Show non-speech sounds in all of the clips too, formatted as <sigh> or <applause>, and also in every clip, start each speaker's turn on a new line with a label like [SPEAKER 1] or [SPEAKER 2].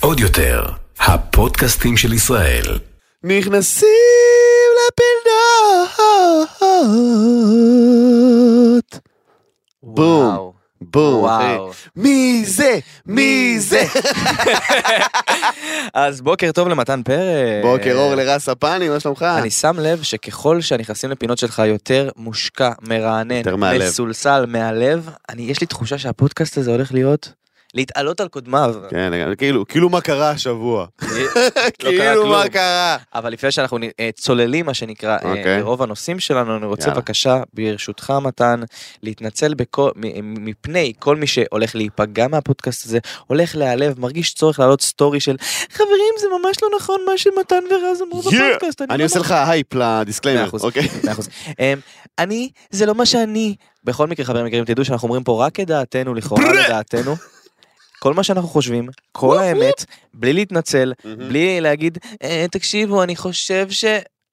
[SPEAKER 1] עוד יותר, הפודקאסטים של ישראל.
[SPEAKER 2] נכנסים לפינות. בום.
[SPEAKER 3] וואו.
[SPEAKER 2] בום, אחי.
[SPEAKER 3] וואו.
[SPEAKER 2] מי זה? מי זה?
[SPEAKER 3] אז בוקר טוב למתן פרץ.
[SPEAKER 2] בוקר אור לרס הפאני, מה שלומך?
[SPEAKER 3] אני שם לב שככל שנכנסים לפינות שלך יותר מושקע,
[SPEAKER 2] יותר
[SPEAKER 3] מרענן,
[SPEAKER 2] מהלב.
[SPEAKER 3] מסולסל מהלב, אני, יש לי תחושה שהפודקאסט הזה הולך להיות להתעלות על קודמיו.
[SPEAKER 2] כן, לגמרי, כאילו, כאילו מה קרה השבוע. <laughs> כאילו
[SPEAKER 3] לא כלום.
[SPEAKER 2] מה קרה.
[SPEAKER 3] אבל לפני שאנחנו נ- אה, צוללים, מה שנקרא, אה,
[SPEAKER 2] אוקיי.
[SPEAKER 3] לרוב הנושאים שלנו, אני רוצה
[SPEAKER 2] יאללה.
[SPEAKER 3] בבקשה, ברשותך מתן, להתנצל בכו- מ- מ- מפני כל מי שהולך להיפגע מהפודקאסט הזה, הולך להיעלב, מרגיש צורך להעלות סטורי של חברים, זה ממש לא נכון מה שמתן ורז אמרו
[SPEAKER 2] Yeah.
[SPEAKER 3] בפודקאסט.
[SPEAKER 2] אני
[SPEAKER 3] לא
[SPEAKER 2] עושה
[SPEAKER 3] מאמין."
[SPEAKER 2] לך הייפ
[SPEAKER 3] מאה
[SPEAKER 2] לדיסקליימר,
[SPEAKER 3] אחוז.
[SPEAKER 2] אוקיי?
[SPEAKER 3] מאה <laughs> אחוז. אמ, אני, זה לא מה שאני. בכל מקרה, חברים יקרים, תדעו שאנחנו אומרים פה רק את דעתנו, לכאורה
[SPEAKER 2] ברא!
[SPEAKER 3] לדעתנו. כל מה שאנחנו חושבים, כל האמת, בלי להתנצל, בלי להגיד, "אה, תקשיבו, אני חושב ש...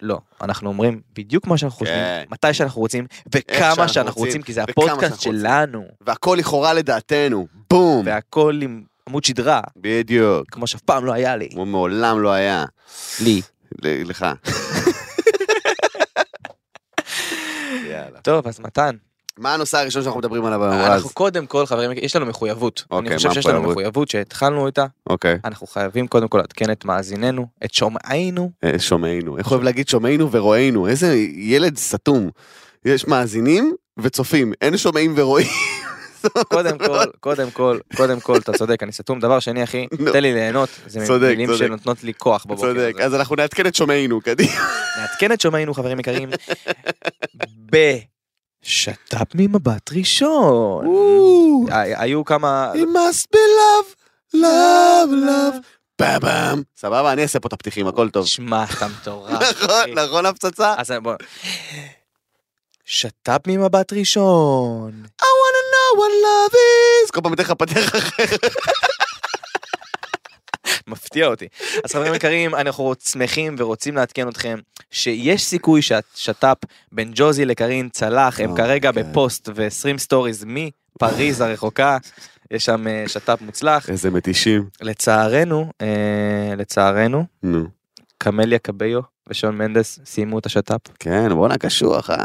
[SPEAKER 3] לא, אנחנו אומרים בדיוק מה שאנחנו חושבים,
[SPEAKER 2] כן.
[SPEAKER 3] מתי שאנחנו רוצים, וכמה
[SPEAKER 2] שאנחנו
[SPEAKER 3] שאנחנו
[SPEAKER 2] רוצים,
[SPEAKER 3] רוצים, כי זה
[SPEAKER 2] וכמה
[SPEAKER 3] הפודקאסט
[SPEAKER 2] שאנחנו רוצים.
[SPEAKER 3] שלנו,
[SPEAKER 2] והכל לכאורה לדעתנו, בום.
[SPEAKER 3] והכל עם עמוד שדרה,
[SPEAKER 2] בדיוק.
[SPEAKER 3] כמו שאף פעם לא היה לי.
[SPEAKER 2] הוא מעולם לא היה.
[SPEAKER 3] לי.
[SPEAKER 2] ל- לך. יאללה.
[SPEAKER 3] טוב, אז מתן,
[SPEAKER 2] מה הנושא הראשון שאנחנו מדברים עליו היום?
[SPEAKER 3] אנחנו
[SPEAKER 2] רז?
[SPEAKER 3] קודם כל, חברים, יש לנו מחויבות. אני
[SPEAKER 2] אוקיי,
[SPEAKER 3] חושב
[SPEAKER 2] מה
[SPEAKER 3] שיש לנו
[SPEAKER 2] המחויבות?
[SPEAKER 3] מחויבות שהתחלנו איתה,
[SPEAKER 2] אוקיי.
[SPEAKER 3] אנחנו חייבים קודם כל לעדכן את מאזיננו, את שומעינו.
[SPEAKER 2] אה, שומעינו. איך אוהב להגיד שומעינו ורואינו? איזה ילד סתום. יש מאזינים וצופים, אין שומעים ורואים.
[SPEAKER 3] קודם
[SPEAKER 2] <laughs>
[SPEAKER 3] כל, קודם כל, קודם כל, אתה צודק, אני סתום. דבר שני, אחי,
[SPEAKER 2] נו.
[SPEAKER 3] תן לי ליהנות. זה
[SPEAKER 2] צודק,
[SPEAKER 3] מילים
[SPEAKER 2] צודק.
[SPEAKER 3] שנותנות לי כוח בבוקר.
[SPEAKER 2] צודק,
[SPEAKER 3] הזה.
[SPEAKER 2] אז אנחנו נעדכן את שומעינו, <laughs> קדימה.
[SPEAKER 3] נעדכן את שומעינו, חברים יקרים, בשת"פ ממבט ראשון. ה- היו כמה...
[SPEAKER 2] It must be love, love, love, פעם פעם. סבבה, אני אעשה פה את הפתיחים, הכל טוב.
[SPEAKER 3] שמע, אתה מטורף. אחי.
[SPEAKER 2] <laughs> נכון, נכון הפצצה?
[SPEAKER 3] אז בוא... שת"פ ממבט ראשון.
[SPEAKER 2] I wanna know what love is. כל פעם אתן לך פתח אחר.
[SPEAKER 3] מפתיע אותי. אז חברים יקרים, אנחנו שמחים ורוצים לעדכן אתכם שיש סיכוי שהשת"פ בין ג'וזי לקרין צלח, הם
[SPEAKER 2] Oh,
[SPEAKER 3] כרגע
[SPEAKER 2] okay.
[SPEAKER 3] בפוסט ו-20 סטוריז מפריז הרחוקה. יש שם אה, שת"פ מוצלח.
[SPEAKER 2] איזה מתישים.
[SPEAKER 3] לצערנו, אה, לצערנו,
[SPEAKER 2] נו.
[SPEAKER 3] קמליה קביו ושון מנדס סיימו את השת"פ.
[SPEAKER 2] כן, בואנה קשוח, אה?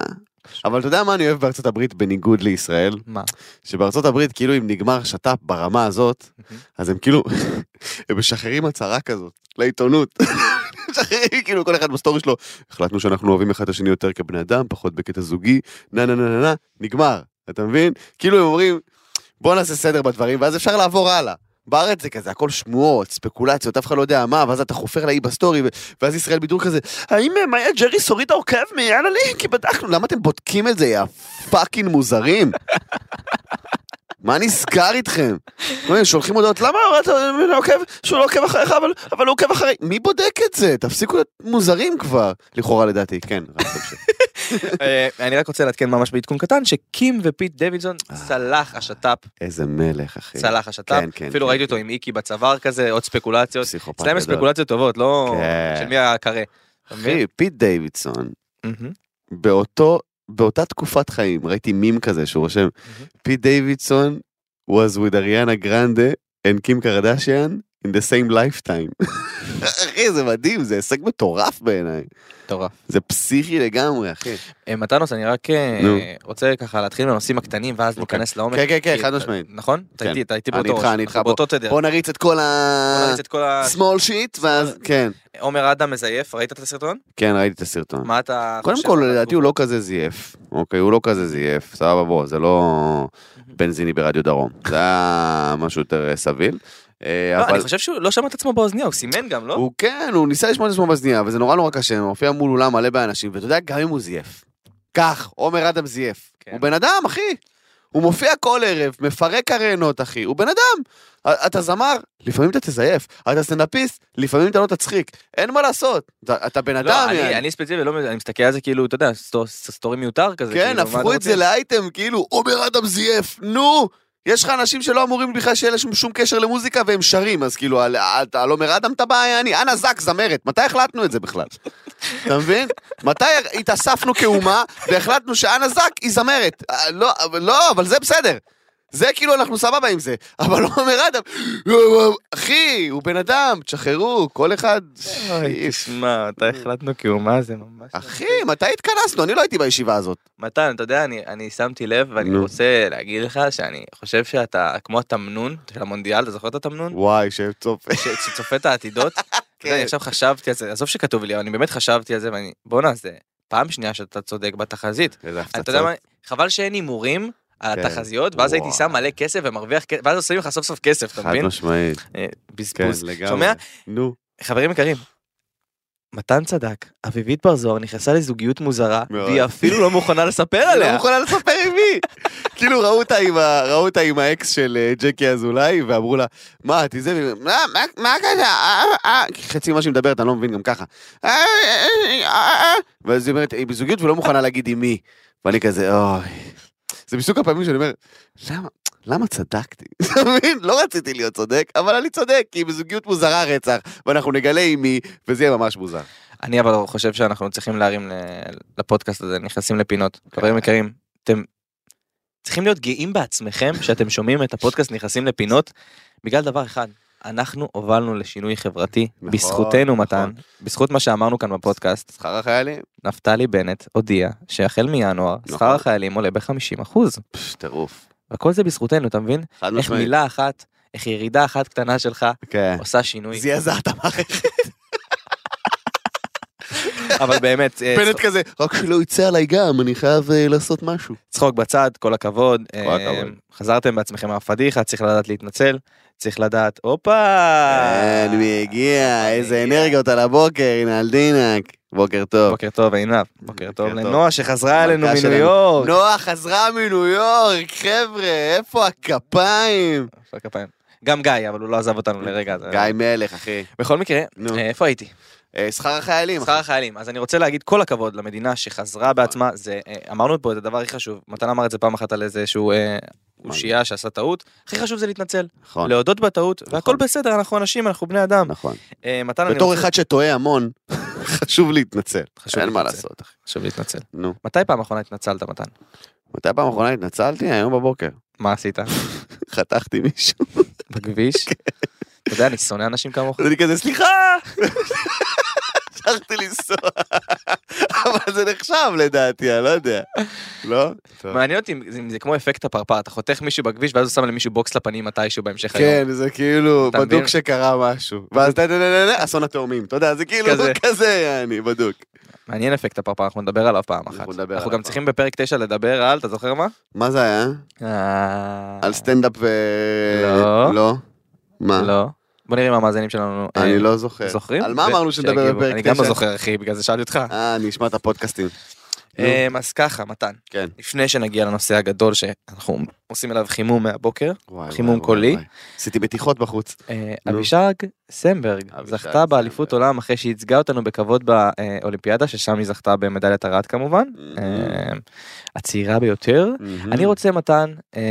[SPEAKER 2] אבל אתה יודע מה אני אוהב בארצות הברית בניגוד לישראל?
[SPEAKER 3] מה?
[SPEAKER 2] שבארצות הברית כאילו אם נגמר שת"פ ברמה הזאת,
[SPEAKER 3] Mhm.
[SPEAKER 2] אז הם כאילו, <laughs> הם משחררים הצהרה כזאת לעיתונות. <laughs> משחררים כאילו כל אחד בסטורי שלו, החלטנו שאנחנו אוהבים אחד את השני יותר כבני אדם, פחות בקטע זוגי, נה נה נה נה נה, נגמר, אתה מבין? כאילו הם אומרים, בוא נעשה סדר בדברים, ואז אפשר לעבור הלאה. בארץ זה כזה, הכל שמועות, ספקולציות, אף אחד לא יודע מה, ואז אתה חופר לאי בסטורי, ו- ואז ישראל בידור כזה, האם אה, מאיה ג'ריס הורידה עוקב מיאללה לי? כי בדקנו, למה אתם בודקים את זה, יא פאקינג מוזרים? מה נסגר איתכם? לא יודע, שולחים הודעות, למה אתה עוקב, שהוא לא עוקב אחריך, אבל, אבל הוא עוקב אחרי... מי בודק את זה? תפסיקו להיות מוזרים כבר. לכאורה לדעתי, כן, רק תמשיך.
[SPEAKER 3] אה, אני רק רוצה לעדכן ממש בעדכון קטן, שקים ופיט דוידסון
[SPEAKER 2] אה.
[SPEAKER 3] צלח השת"פ,
[SPEAKER 2] איזה מלך, אחי.
[SPEAKER 3] צלח השת"פ.
[SPEAKER 2] כן, כן.
[SPEAKER 3] אפילו
[SPEAKER 2] כן.
[SPEAKER 3] ראיתי אותו עם איקי בצוואר כזה, עוד ספקולציות.
[SPEAKER 2] פסיכופת
[SPEAKER 3] אצלם יש
[SPEAKER 2] גדול.
[SPEAKER 3] ספקולציות טובות, לא
[SPEAKER 2] כן.
[SPEAKER 3] של מי הקרא. אתה מבין?
[SPEAKER 2] אחי, פיט דיווידסון,
[SPEAKER 3] מהמם.
[SPEAKER 2] באותו, באותה תקופת חיים, ראיתי מים כזה שהוא רושם,
[SPEAKER 3] Mhm.
[SPEAKER 2] פיט דיווידסון was with אריאנה גרנדה and קים קרדשיאן in the same lifetime. <laughs> אחי, זה מדהים, זה הישג מטורף בעיניי.
[SPEAKER 3] מטורף.
[SPEAKER 2] זה פסיכי לגמרי, אחי.
[SPEAKER 3] אה, מתנוס, אני רק אה,
[SPEAKER 2] נו.
[SPEAKER 3] רוצה ככה להתחיל מהנושאים הקטנים ואז
[SPEAKER 2] אוקיי.
[SPEAKER 3] ניכנס לעומק.
[SPEAKER 2] כן, כן, כן,
[SPEAKER 3] כי-
[SPEAKER 2] חד משמעית.
[SPEAKER 3] נכון? אתה
[SPEAKER 2] כן.
[SPEAKER 3] איתי, אתה איתי
[SPEAKER 2] אני
[SPEAKER 3] באותו
[SPEAKER 2] איתך,
[SPEAKER 3] ראש.
[SPEAKER 2] אני איתך,
[SPEAKER 3] אנחנו באותו תדר.
[SPEAKER 2] בוא נריץ את כל
[SPEAKER 3] כן. בוא
[SPEAKER 2] ה...
[SPEAKER 3] נריץ את כל ה...
[SPEAKER 2] שמאל שיט, ואז... כן.
[SPEAKER 3] עומר אדם מזייף, ראית את הסרטון?
[SPEAKER 2] כן, ראיתי את הסרטון.
[SPEAKER 3] מה אתה...
[SPEAKER 2] קודם
[SPEAKER 3] חושב
[SPEAKER 2] כל,
[SPEAKER 3] על
[SPEAKER 2] לדעתי
[SPEAKER 3] התגובה?
[SPEAKER 2] הוא לא כזה זייף. אוקיי, הוא לא כזה זייף, סבבה, בוא, זה לא בנזיני ברדיו דרום. זה היה משהו יותר אה, סביל. אה,
[SPEAKER 3] לא,
[SPEAKER 2] אבל...
[SPEAKER 3] אני חושב שהוא לא שמע את עצמו באוזניה, הוא סימן גם, לא?
[SPEAKER 2] הוא כן, הוא ניסה לשמוע את עצמו באזניה, וזה נורא נורא קשה, הוא מופיע מול אולם מלא באנשים, ואתה יודע, גם אם הוא זייף. כך, עומר אדם זייף.
[SPEAKER 3] כן.
[SPEAKER 2] הוא בן אדם, אחי. הוא מופיע כל ערב, מפרק ארנות, אחי. הוא בן אדם. א- אתה זמר, לפעמים אתה תזייף. אתה סטנדאפיסט, לפעמים אתה לא תצחיק. אין מה לעשות. אתה אתה בן
[SPEAKER 3] לא,
[SPEAKER 2] אדם,
[SPEAKER 3] אני-
[SPEAKER 2] יעני.
[SPEAKER 3] אני ספציפי, לא מבין, אני מסתכל על זה כאילו, אתה יודע, סטו- סטורי מיותר כזה.
[SPEAKER 2] כן,
[SPEAKER 3] כאילו, מה
[SPEAKER 2] הפכו
[SPEAKER 3] אתה
[SPEAKER 2] את זה
[SPEAKER 3] רוצה?
[SPEAKER 2] לאייטם, כאילו, עומר אדם זייף. נו! יש לך אנשים שלא אמורים בכלל שיהיה להם שום קשר למוזיקה והם שרים, אז כאילו, על, על, על עומר אדם אתה בא, אני, אנה זק, זמרת. מתי החלטנו את זה בכלל? אתה מבין? מתי התאספנו כאומה והחלטנו שאנה זק היא זמרת? אה, לא, אבל- לא, אבל זה בסדר. זה כאילו אנחנו סבבה עם זה, אבל לא אומר אדם, אחי, הוא בן אדם, תשחררו, כל אחד...
[SPEAKER 3] אוי,
[SPEAKER 2] <laughs>
[SPEAKER 3] תשמע, אתה החלטנו כאומה זה ממש...
[SPEAKER 2] אחי, מתי התכנסנו? אני לא הייתי בישיבה הזאת.
[SPEAKER 3] מתן, אתה יודע, אני, אני שמתי לב ואני
[SPEAKER 2] נו.
[SPEAKER 3] רוצה להגיד לך שאני חושב שאתה כמו התמנון של המונדיאל, אתה זוכר
[SPEAKER 2] <laughs>
[SPEAKER 3] את התמנון?
[SPEAKER 2] וואי, שם צופה.
[SPEAKER 3] ש- שצופה
[SPEAKER 2] <laughs>
[SPEAKER 3] את העתידות? אתה יודע,
[SPEAKER 2] כן.
[SPEAKER 3] אני עכשיו חשבתי על זה, עזוב שכתוב לי, אבל אני באמת חשבתי על זה ואני, בואנה, זה פעם שנייה שאתה צודק בתחזית.
[SPEAKER 2] איזה
[SPEAKER 3] אתה יודע
[SPEAKER 2] הפצצות.
[SPEAKER 3] מה, חבל שאין הימורים. על
[SPEAKER 2] כן.
[SPEAKER 3] התחזיות, ואז הייתי
[SPEAKER 2] וואי.
[SPEAKER 3] שם מלא כסף ומרוויח כסף, ואז עושים לך סוף סוף כסף, אתה
[SPEAKER 2] חד
[SPEAKER 3] מבין?
[SPEAKER 2] משמעית.
[SPEAKER 3] אה,
[SPEAKER 2] כן,
[SPEAKER 3] בזבוז.
[SPEAKER 2] לגמרי.
[SPEAKER 3] שומע?
[SPEAKER 2] נו.
[SPEAKER 3] חברים יקרים, מתן צדק, אביבית בר זוהר נכנסה לזוגיות מוזרה,
[SPEAKER 2] מאוד.
[SPEAKER 3] והיא אפילו לא מוכנה לספר
[SPEAKER 2] לא
[SPEAKER 3] עליה.
[SPEAKER 2] מוכנה לספר עם
[SPEAKER 3] <laughs>
[SPEAKER 2] מי. כאילו ראו אותה עם ה- ראו אותה עם האקס של אה, ג'קי אזולאי, ואמרו לה, מה, את זה, והיא, "מה- מה- מה כזה, אה, אה, כי חצי ממה שהיא מדברת, אני לא מבין גם ככה. "אה, אה, אה, אה." ואז היא אומרת, היא בזוגיות ולא מוכנה להגיד עם מי. ואני כזה, אוי. זה מסוג הפעמים שאני אומר, למה? למה צדקתי? <laughs> אתה מבין? לא רציתי להיות צודק, אבל אני צודק, כי בזוגיות מוזרה רצח, ואנחנו נגלה עם מי, וזה יהיה ממש מוזר.
[SPEAKER 3] אני אבל חושב שאנחנו צריכים להרים ל- לפודקאסט הזה, נכנסים לפינות.
[SPEAKER 2] כן.
[SPEAKER 3] חברים יקרים, אתם צריכים להיות גאים בעצמכם שאתם שומעים את הפודקאסט נכנסים לפינות, בגלל דבר אחד, אנחנו הובלנו לשינוי חברתי,
[SPEAKER 2] נכון,
[SPEAKER 3] בזכותנו מתן,
[SPEAKER 2] נכון.
[SPEAKER 3] בזכות מה שאמרנו כאן בפודקאסט,
[SPEAKER 2] שכר החיילים?
[SPEAKER 3] נפתלי בנט הודיע שהחל מינואר שכר
[SPEAKER 2] נכון.
[SPEAKER 3] החיילים עולה ב-50%.
[SPEAKER 2] פש, טירוף.
[SPEAKER 3] וכל זה בזכותנו, אתה מבין?
[SPEAKER 2] חד
[SPEAKER 3] איך
[SPEAKER 2] משמעית.
[SPEAKER 3] מילה אחת, איך ירידה אחת
[SPEAKER 2] <laughs>
[SPEAKER 3] קטנה שלך
[SPEAKER 2] כן.
[SPEAKER 3] עושה שינוי.
[SPEAKER 2] זעזע את המערכת.
[SPEAKER 3] אבל באמת, אה,
[SPEAKER 2] פלט כזה, רק שלא יצא עליי גם, אני חייב אה, לעשות משהו.
[SPEAKER 3] צחוק בצד, כל הכבוד. אה,
[SPEAKER 2] הכבוד.
[SPEAKER 3] חזרתם בעצמכם מהפדיחה, צריך לדעת להתנצל, צריך לדעת, הופה!
[SPEAKER 2] אין מי הגיע,
[SPEAKER 3] מי
[SPEAKER 2] אה, איזה
[SPEAKER 3] הגיע.
[SPEAKER 2] אנרגיות על הבוקר, הנה על דינק. בוקר טוב.
[SPEAKER 3] בוקר טוב עינב, בוקר טוב
[SPEAKER 2] טוב.
[SPEAKER 3] לנועה שחזרה אלינו
[SPEAKER 2] המלכה
[SPEAKER 3] מניו
[SPEAKER 2] שלנו.
[SPEAKER 3] יורק.
[SPEAKER 2] נועה חזרה מניו יורק, חבר'ה, איפה הכפיים?
[SPEAKER 3] אפשר כפיים. גם גיא, אבל הוא לא עזב אותנו לרגע. אז-
[SPEAKER 2] גיא מלך, אחי.
[SPEAKER 3] בכל מקרה,
[SPEAKER 2] נו.
[SPEAKER 3] אה, איפה הייתי?
[SPEAKER 2] אה, שכר החיילים.
[SPEAKER 3] שכר החיילים. אז אני רוצה להגיד כל הכבוד למדינה שחזרה בעצמה, זה, אה, אמרנו פה את הדבר הכי חשוב, מתן אמר את זה פעם אחת על איזה שהוא אה, אושייה שעשה טעות, הכי חשוב זה להתנצל,
[SPEAKER 2] נכון.
[SPEAKER 3] להודות בטעות, והכל
[SPEAKER 2] נכון.
[SPEAKER 3] בסדר, אנחנו אנשים, אנחנו בני אדם.
[SPEAKER 2] נכון.
[SPEAKER 3] אה, מתן, אני
[SPEAKER 2] בתור
[SPEAKER 3] רוצה...
[SPEAKER 2] אחד שטועה המון, <laughs> חשוב להתנצל.
[SPEAKER 3] חשוב
[SPEAKER 2] אין מה
[SPEAKER 3] להתנצל.
[SPEAKER 2] לעשות, אחי.
[SPEAKER 3] חשוב להתנצל.
[SPEAKER 2] נו.
[SPEAKER 3] מתי פעם אחרונה התנצלת, מתן?
[SPEAKER 2] מתי הפעם האחרונה התנצלתי? היום בבוקר. <laughs>
[SPEAKER 3] מה עשית?
[SPEAKER 2] חתכתי מישהו.
[SPEAKER 3] בכביש?
[SPEAKER 2] כן.
[SPEAKER 3] אתה יודע, אני שונא אנשים כמוך.
[SPEAKER 2] אז אני כזה, סליחה! המשכתי לנסוע. אבל זה נחשב לדעתי, אני לא יודע. לא? טוב.
[SPEAKER 3] מעניין אותי אם זה- אם זה כמו אפקט הפרפר, אתה חותך מישהו בכביש ואז הוא שם למישהו בוקס לפנים מתישהו בהמשך היום.
[SPEAKER 2] כן, זה כאילו
[SPEAKER 3] אתה מבין?
[SPEAKER 2] בדוק שקרה משהו. ואז דה דה דה דה, אסון התאומים. אתה יודע, זה כאילו
[SPEAKER 3] כזה.
[SPEAKER 2] כזה, אני בדוק.
[SPEAKER 3] מעניין אפקט הפרפר, אנחנו נדבר עליו פעם אחת.
[SPEAKER 2] אנחנו נדבר
[SPEAKER 3] אנחנו
[SPEAKER 2] עליו
[SPEAKER 3] גם צריכים בפרק 9 לדבר על, אתה זוכר מה?
[SPEAKER 2] מה זה היה?
[SPEAKER 3] אה,
[SPEAKER 2] על סטנדאפ ו...
[SPEAKER 3] לא.
[SPEAKER 2] לא? מה?
[SPEAKER 3] לא. בוא נראה אם המאזינים שלנו... אה,
[SPEAKER 2] אני לא זוכר.
[SPEAKER 3] זוכרים?
[SPEAKER 2] על מה
[SPEAKER 3] ו-
[SPEAKER 2] אמרנו שנדבר
[SPEAKER 3] שיגיבו.
[SPEAKER 2] בפרק 9?
[SPEAKER 3] אני גם לא זוכר, אחי, בגלל זה שאלתי אותך.
[SPEAKER 2] אה, אני אשמע את הפודקאסטים. נו.
[SPEAKER 3] אה, אז ככה, מתן.
[SPEAKER 2] כן.
[SPEAKER 3] לפני שנגיע לנושא הגדול שאנחנו עושים עליו חימום מהבוקר,
[SPEAKER 2] וואי,
[SPEAKER 3] חימום
[SPEAKER 2] וואי, וואי,
[SPEAKER 3] קולי.
[SPEAKER 2] וואי. עשיתי מתיחות בחוץ.
[SPEAKER 3] אה,
[SPEAKER 2] נו.
[SPEAKER 3] אבישג סמברג
[SPEAKER 2] לא. אבישג
[SPEAKER 3] זכתה באליפות
[SPEAKER 2] סמברג.
[SPEAKER 3] עולם אחרי שייצגה אותנו בכבוד באולימפיאדה, ששם היא זכתה במדליית ארד כמובן,
[SPEAKER 2] Mm-hmm.
[SPEAKER 3] אה, הצעירה ביותר. אני רוצה, מתן, אה,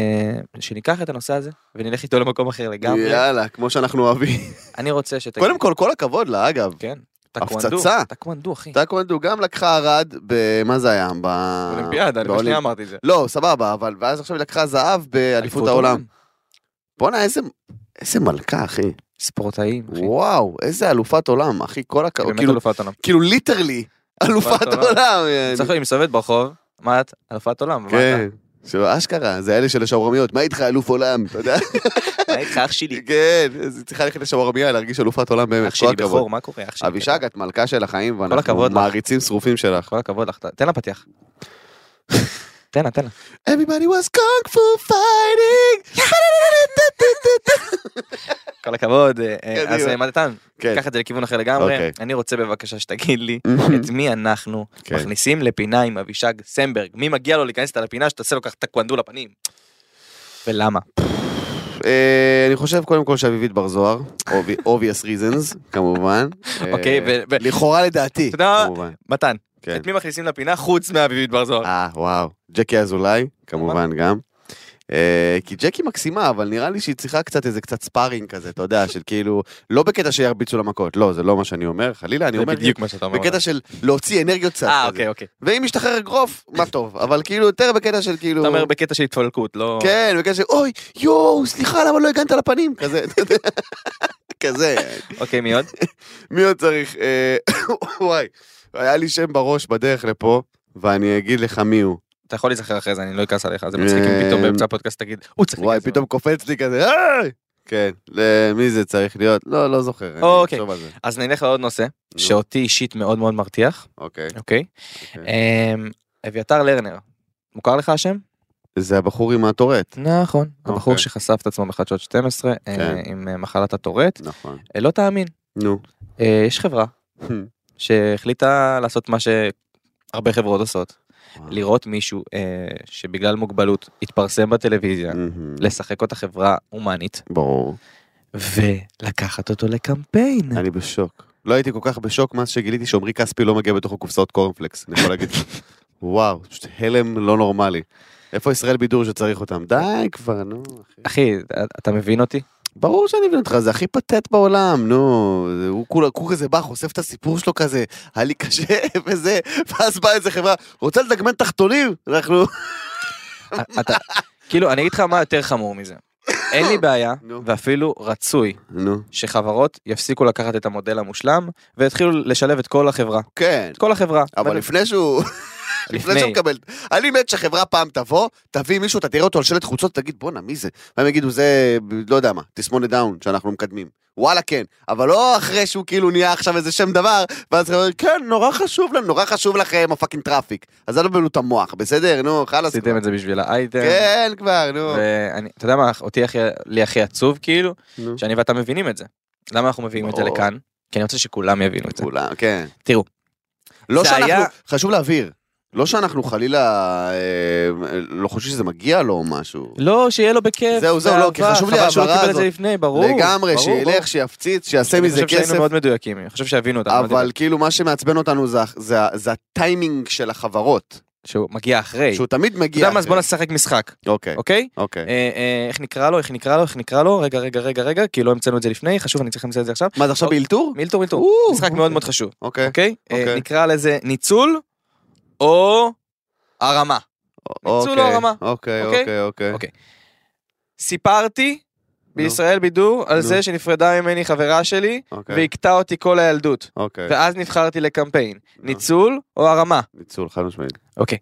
[SPEAKER 3] שניקח את הנושא הזה ונלך איתו למקום אחר לגמרי.
[SPEAKER 2] יאללה, כמו שאנחנו אוהבים.
[SPEAKER 3] אני רוצה שתגיד...
[SPEAKER 2] קודם כל, כל הכבוד לה, אגב.
[SPEAKER 3] כן. טקוונדו,
[SPEAKER 2] הפצצה.
[SPEAKER 3] טקוונדו, אחי.
[SPEAKER 2] טקוונדו גם לקחה ערד ב... מה זה היה? ב...
[SPEAKER 3] אולימפיאדה, לפני
[SPEAKER 2] באולימפ-
[SPEAKER 3] שנייה אמרתי את זה.
[SPEAKER 2] לא, סבבה, אבל... ואז עכשיו היא לקחה זהב באליפות העולם. בואנה, איזה... איזה מלכה, אחי.
[SPEAKER 3] ספורטאים, אחי.
[SPEAKER 2] וואו, איזה אלופת עולם, אחי, כל הכ...
[SPEAKER 3] היא באמת
[SPEAKER 2] כאילו,
[SPEAKER 3] אלופת עולם.
[SPEAKER 2] כאילו ליטרלי, אלופת
[SPEAKER 3] אלופת עולם.
[SPEAKER 2] עולם. יעני.
[SPEAKER 3] צריך להיות היא מסתובבת ברחוב, מה את? אלופת עולם. מה
[SPEAKER 2] אה, כן, שאשכרה, זה אלה של השאורמיות, מה איתך אלוף עולם, אתה
[SPEAKER 3] <laughs>
[SPEAKER 2] יודע?
[SPEAKER 3] אתה? מה איתך אח שלי?
[SPEAKER 2] כן, אז היא צריכה ללכת לשאורמיה, להרגיש אלופת עולם באמת,
[SPEAKER 3] אח
[SPEAKER 2] כן, כל
[SPEAKER 3] שלי
[SPEAKER 2] הכבוד.
[SPEAKER 3] בכור, מה קורה? אח שלי. כן.
[SPEAKER 2] אבישג, את מלכה של החיים, ואנחנו
[SPEAKER 3] הכבוד לך.
[SPEAKER 2] מעריצים שרופים שלך.
[SPEAKER 3] כל הכבוד לך, תן לה פתיח. תן לה, תן לה.
[SPEAKER 2] Everybody was kung fu fighting!
[SPEAKER 3] כל הכבוד. אה, אה,
[SPEAKER 2] קדימה.
[SPEAKER 3] אז אה, מתן,
[SPEAKER 2] כן.
[SPEAKER 3] קח את זה לכיוון אחר לגמרי.
[SPEAKER 2] אוקיי.
[SPEAKER 3] אני רוצה בבקשה שתגיד לי
[SPEAKER 2] Mhm.
[SPEAKER 3] את מי אנחנו
[SPEAKER 2] כן.
[SPEAKER 3] מכניסים לפינה עם אבישג סמברג. מי מגיע לו להיכנס איתה לפינה שתעשה לו ככה טקוונדו לפנים? ולמה?
[SPEAKER 2] אה, אני חושב קודם כל שאביבית בר זוהר, obvi- obvious reasons, כמובן. אה,
[SPEAKER 3] אוקיי, ו- ו-
[SPEAKER 2] לכאורה לדעתי,
[SPEAKER 3] אתה יודע מה?
[SPEAKER 2] כמובן.
[SPEAKER 3] מתן,
[SPEAKER 2] כן.
[SPEAKER 3] את מי מכניסים לפינה חוץ מאביבית בר זוהר?
[SPEAKER 2] אה, וואו. ג'קי אזולאי, כמובן גם. אה, כי ג'קי מקסימה, אבל נראה לי שהיא צריכה קצת איזה קצת ספארינג כזה, אתה יודע, של כאילו, לא בקטע שירביצו לה מכות, לא, זה לא מה שאני אומר, חלילה, אני
[SPEAKER 3] זה
[SPEAKER 2] אומר,
[SPEAKER 3] בדיוק מה שאתה אומר.
[SPEAKER 2] בקטע של להוציא אנרגיות קצת.
[SPEAKER 3] אה,
[SPEAKER 2] כזה.
[SPEAKER 3] אוקיי, אוקיי.
[SPEAKER 2] ואם משתחרר אגרוף, מה טוב, אבל כאילו יותר בקטע של כאילו...
[SPEAKER 3] אתה אומר בקטע של התפלקות, לא...
[SPEAKER 2] כן, בקטע של אוי, יואו, סליחה, למה לא הגנת לפנים? כזה, אתה יודע. <laughs> כזה.
[SPEAKER 3] אוקיי, מי עוד?
[SPEAKER 2] מי עוד צריך? אה, <laughs> וואי, היה לי שם בראש בדרך לפה, ואני אגיד לך מי הוא.
[SPEAKER 3] אתה יכול להיזכר אחרי זה, אני לא אכעס עליך, זה מצחיק אם פתאום
[SPEAKER 2] אה,
[SPEAKER 3] באמצע הפודקאסט תגיד, הוא צריך...
[SPEAKER 2] וואי,
[SPEAKER 3] להיכנס לו."
[SPEAKER 2] פתאום קופץ לי כזה, "היי!" כן, למי זה צריך להיות? לא, לא זוכר. אני
[SPEAKER 3] אוקיי.
[SPEAKER 2] אחשוב על זה.
[SPEAKER 3] אז נלך לעוד נושא,
[SPEAKER 2] נו.
[SPEAKER 3] שאותי אישית מאוד מאוד מרתיח,
[SPEAKER 2] אוקיי.
[SPEAKER 3] אוקיי? אמ, אביתר לרנר, מוכר לך השם?
[SPEAKER 2] זה הבחור עם הטורט.
[SPEAKER 3] נכון. הבחור
[SPEAKER 2] אוקיי.
[SPEAKER 3] שחשף את עצמו בחדשות 12 אה,
[SPEAKER 2] כן.
[SPEAKER 3] עם אה, מחלת הטורט.
[SPEAKER 2] נכון.
[SPEAKER 3] אה, לא תאמין,
[SPEAKER 2] נו.
[SPEAKER 3] אה, יש חברה שהחליטה לעשות מה שהרבה חברות עושות,
[SPEAKER 2] אה.
[SPEAKER 3] לראות מישהו אה, שבגלל מוגבלות התפרסם בטלוויזיה,
[SPEAKER 2] מהמם.
[SPEAKER 3] לשחק אותה חברה הומנית,
[SPEAKER 2] ברור.
[SPEAKER 3] ולקחת אותו לקמפיין.
[SPEAKER 2] אני בשוק. לא הייתי כל כך בשוק מאז שגיליתי שעמרי כספי לא מגיע בתוך הקופסאות קורנפלקס, אני יכול <laughs> להגיד. וואו, פשוט הלם לא נורמלי. איפה ישראל בידור שצריך אותם? די כבר, נו. אחי.
[SPEAKER 3] אחי, אתה מבין אותי?
[SPEAKER 2] ברור שאני מבין אותך, זה הכי פתט בעולם, נו. זה- הוא כולה, הוא כזה בא, חושף את הסיפור שלו כזה, היה לי קשה <laughs> וזה, ואז באה איזה חברה, רוצה לדגמן תחתונים? אנחנו...
[SPEAKER 3] <laughs> אתה, כאילו, אני אגיד לך מה יותר חמור מזה. אין לי בעיה,
[SPEAKER 2] <laughs> נו.
[SPEAKER 3] ואפילו רצוי,
[SPEAKER 2] נו.
[SPEAKER 3] שחברות יפסיקו לקחת את המודל המושלם, ויתחילו לשלב את כל החברה.
[SPEAKER 2] כן.
[SPEAKER 3] את כל החברה.
[SPEAKER 2] אבל
[SPEAKER 3] מנ-
[SPEAKER 2] לפני שהוא... לפני שהוא מקבל, אני מת שחברה פעם תבוא, תביא מישהו, אתה תראה אותו על שלט חוצות, תגיד בואנה מי זה? והם יגידו זה, לא יודע מה, תסמונת דאון שאנחנו מקדמים. וואלה כן, אבל לא אחרי שהוא כאילו נהיה עכשיו איזה שם דבר, ואז הוא אומר כן, נורא חשוב לנו, נורא חשוב לכם הפאקינג טראפיק. אז אל תבלו את המוח, בסדר? נו, חלאס.
[SPEAKER 3] עשיתם
[SPEAKER 2] כבר.
[SPEAKER 3] את זה בשביל האייטם.
[SPEAKER 2] כן כבר, נו.
[SPEAKER 3] ואני, אתה יודע מה, אותי הכי, לי הכי עצוב כאילו,
[SPEAKER 2] נו.
[SPEAKER 3] שאני ואתה מבינים את זה. למה אנחנו מביאים את זה
[SPEAKER 2] ברור.
[SPEAKER 3] לכאן? כי אני רוצה שכולם יבינו את זה.
[SPEAKER 2] כולם, כן.
[SPEAKER 3] תראו,
[SPEAKER 2] לא
[SPEAKER 3] זה
[SPEAKER 2] שאנחנו,
[SPEAKER 3] היה-
[SPEAKER 2] חשוב להבהיר, לא שאנחנו חלילה אה, לא חושבים שזה מגיע לו או משהו.
[SPEAKER 3] לא, שיהיה לו בכיף.
[SPEAKER 2] זהו, זהו, לא, כי
[SPEAKER 3] באהבה,
[SPEAKER 2] חשוב לי
[SPEAKER 3] חבל שהוא לא
[SPEAKER 2] ההבהרה
[SPEAKER 3] קיבל את זה
[SPEAKER 2] הזאת.
[SPEAKER 3] לפני, ברור.
[SPEAKER 2] לגמרי,
[SPEAKER 3] ברור,
[SPEAKER 2] שילך, שיפציץ, שיעשה
[SPEAKER 3] ברור.
[SPEAKER 2] מזה
[SPEAKER 3] אני חושב
[SPEAKER 2] כסף.
[SPEAKER 3] שהיינו מאוד מדויקים, אני לא חושב שהבינו אותנו.
[SPEAKER 2] אבל כאילו מה שמעצבן אותנו זה, זה, זה הטיימינג של החברות,
[SPEAKER 3] שהוא מגיע אחרי.
[SPEAKER 2] שהוא תמיד
[SPEAKER 3] אתה
[SPEAKER 2] מגיע.
[SPEAKER 3] יודע מה, אז
[SPEAKER 2] אחרי.
[SPEAKER 3] בוא נשחק משחק,
[SPEAKER 2] אוקיי,
[SPEAKER 3] אוקיי?
[SPEAKER 2] אוקיי.
[SPEAKER 3] אה, אה, איך נקרא לו, איך נקרא לו, איך נקרא לו, רגע, רגע, רגע, רגע, כי לא המצאנו את זה לפני, חשוב, אני צריך למצוא את זה עכשיו.
[SPEAKER 2] מה זה עכשיו
[SPEAKER 3] אוקיי.
[SPEAKER 2] באלתור?
[SPEAKER 3] מילטור, מילטור,
[SPEAKER 2] או,
[SPEAKER 3] משחק מאוד מאוד חשוב,
[SPEAKER 2] אוקיי.
[SPEAKER 3] אוקיי? אה,
[SPEAKER 2] אוקיי.
[SPEAKER 3] נקרא לזה ניצול או הרמה. ניצול או
[SPEAKER 2] אוקיי,
[SPEAKER 3] הרמה.
[SPEAKER 2] אוקיי,
[SPEAKER 3] לא אוקיי?
[SPEAKER 2] אוקיי, אוקיי.
[SPEAKER 3] אוקיי. סיפרתי בישראל בידור על
[SPEAKER 2] נו.
[SPEAKER 3] זה שנפרדה ממני חברה שלי
[SPEAKER 2] אוקיי,
[SPEAKER 3] והכתה אותי כל הילדות,
[SPEAKER 2] אוקיי.
[SPEAKER 3] ואז נבחרתי לקמפיין.
[SPEAKER 2] נו.
[SPEAKER 3] ניצול או הרמה?
[SPEAKER 2] ניצול, חד משמעית.
[SPEAKER 3] אוקיי.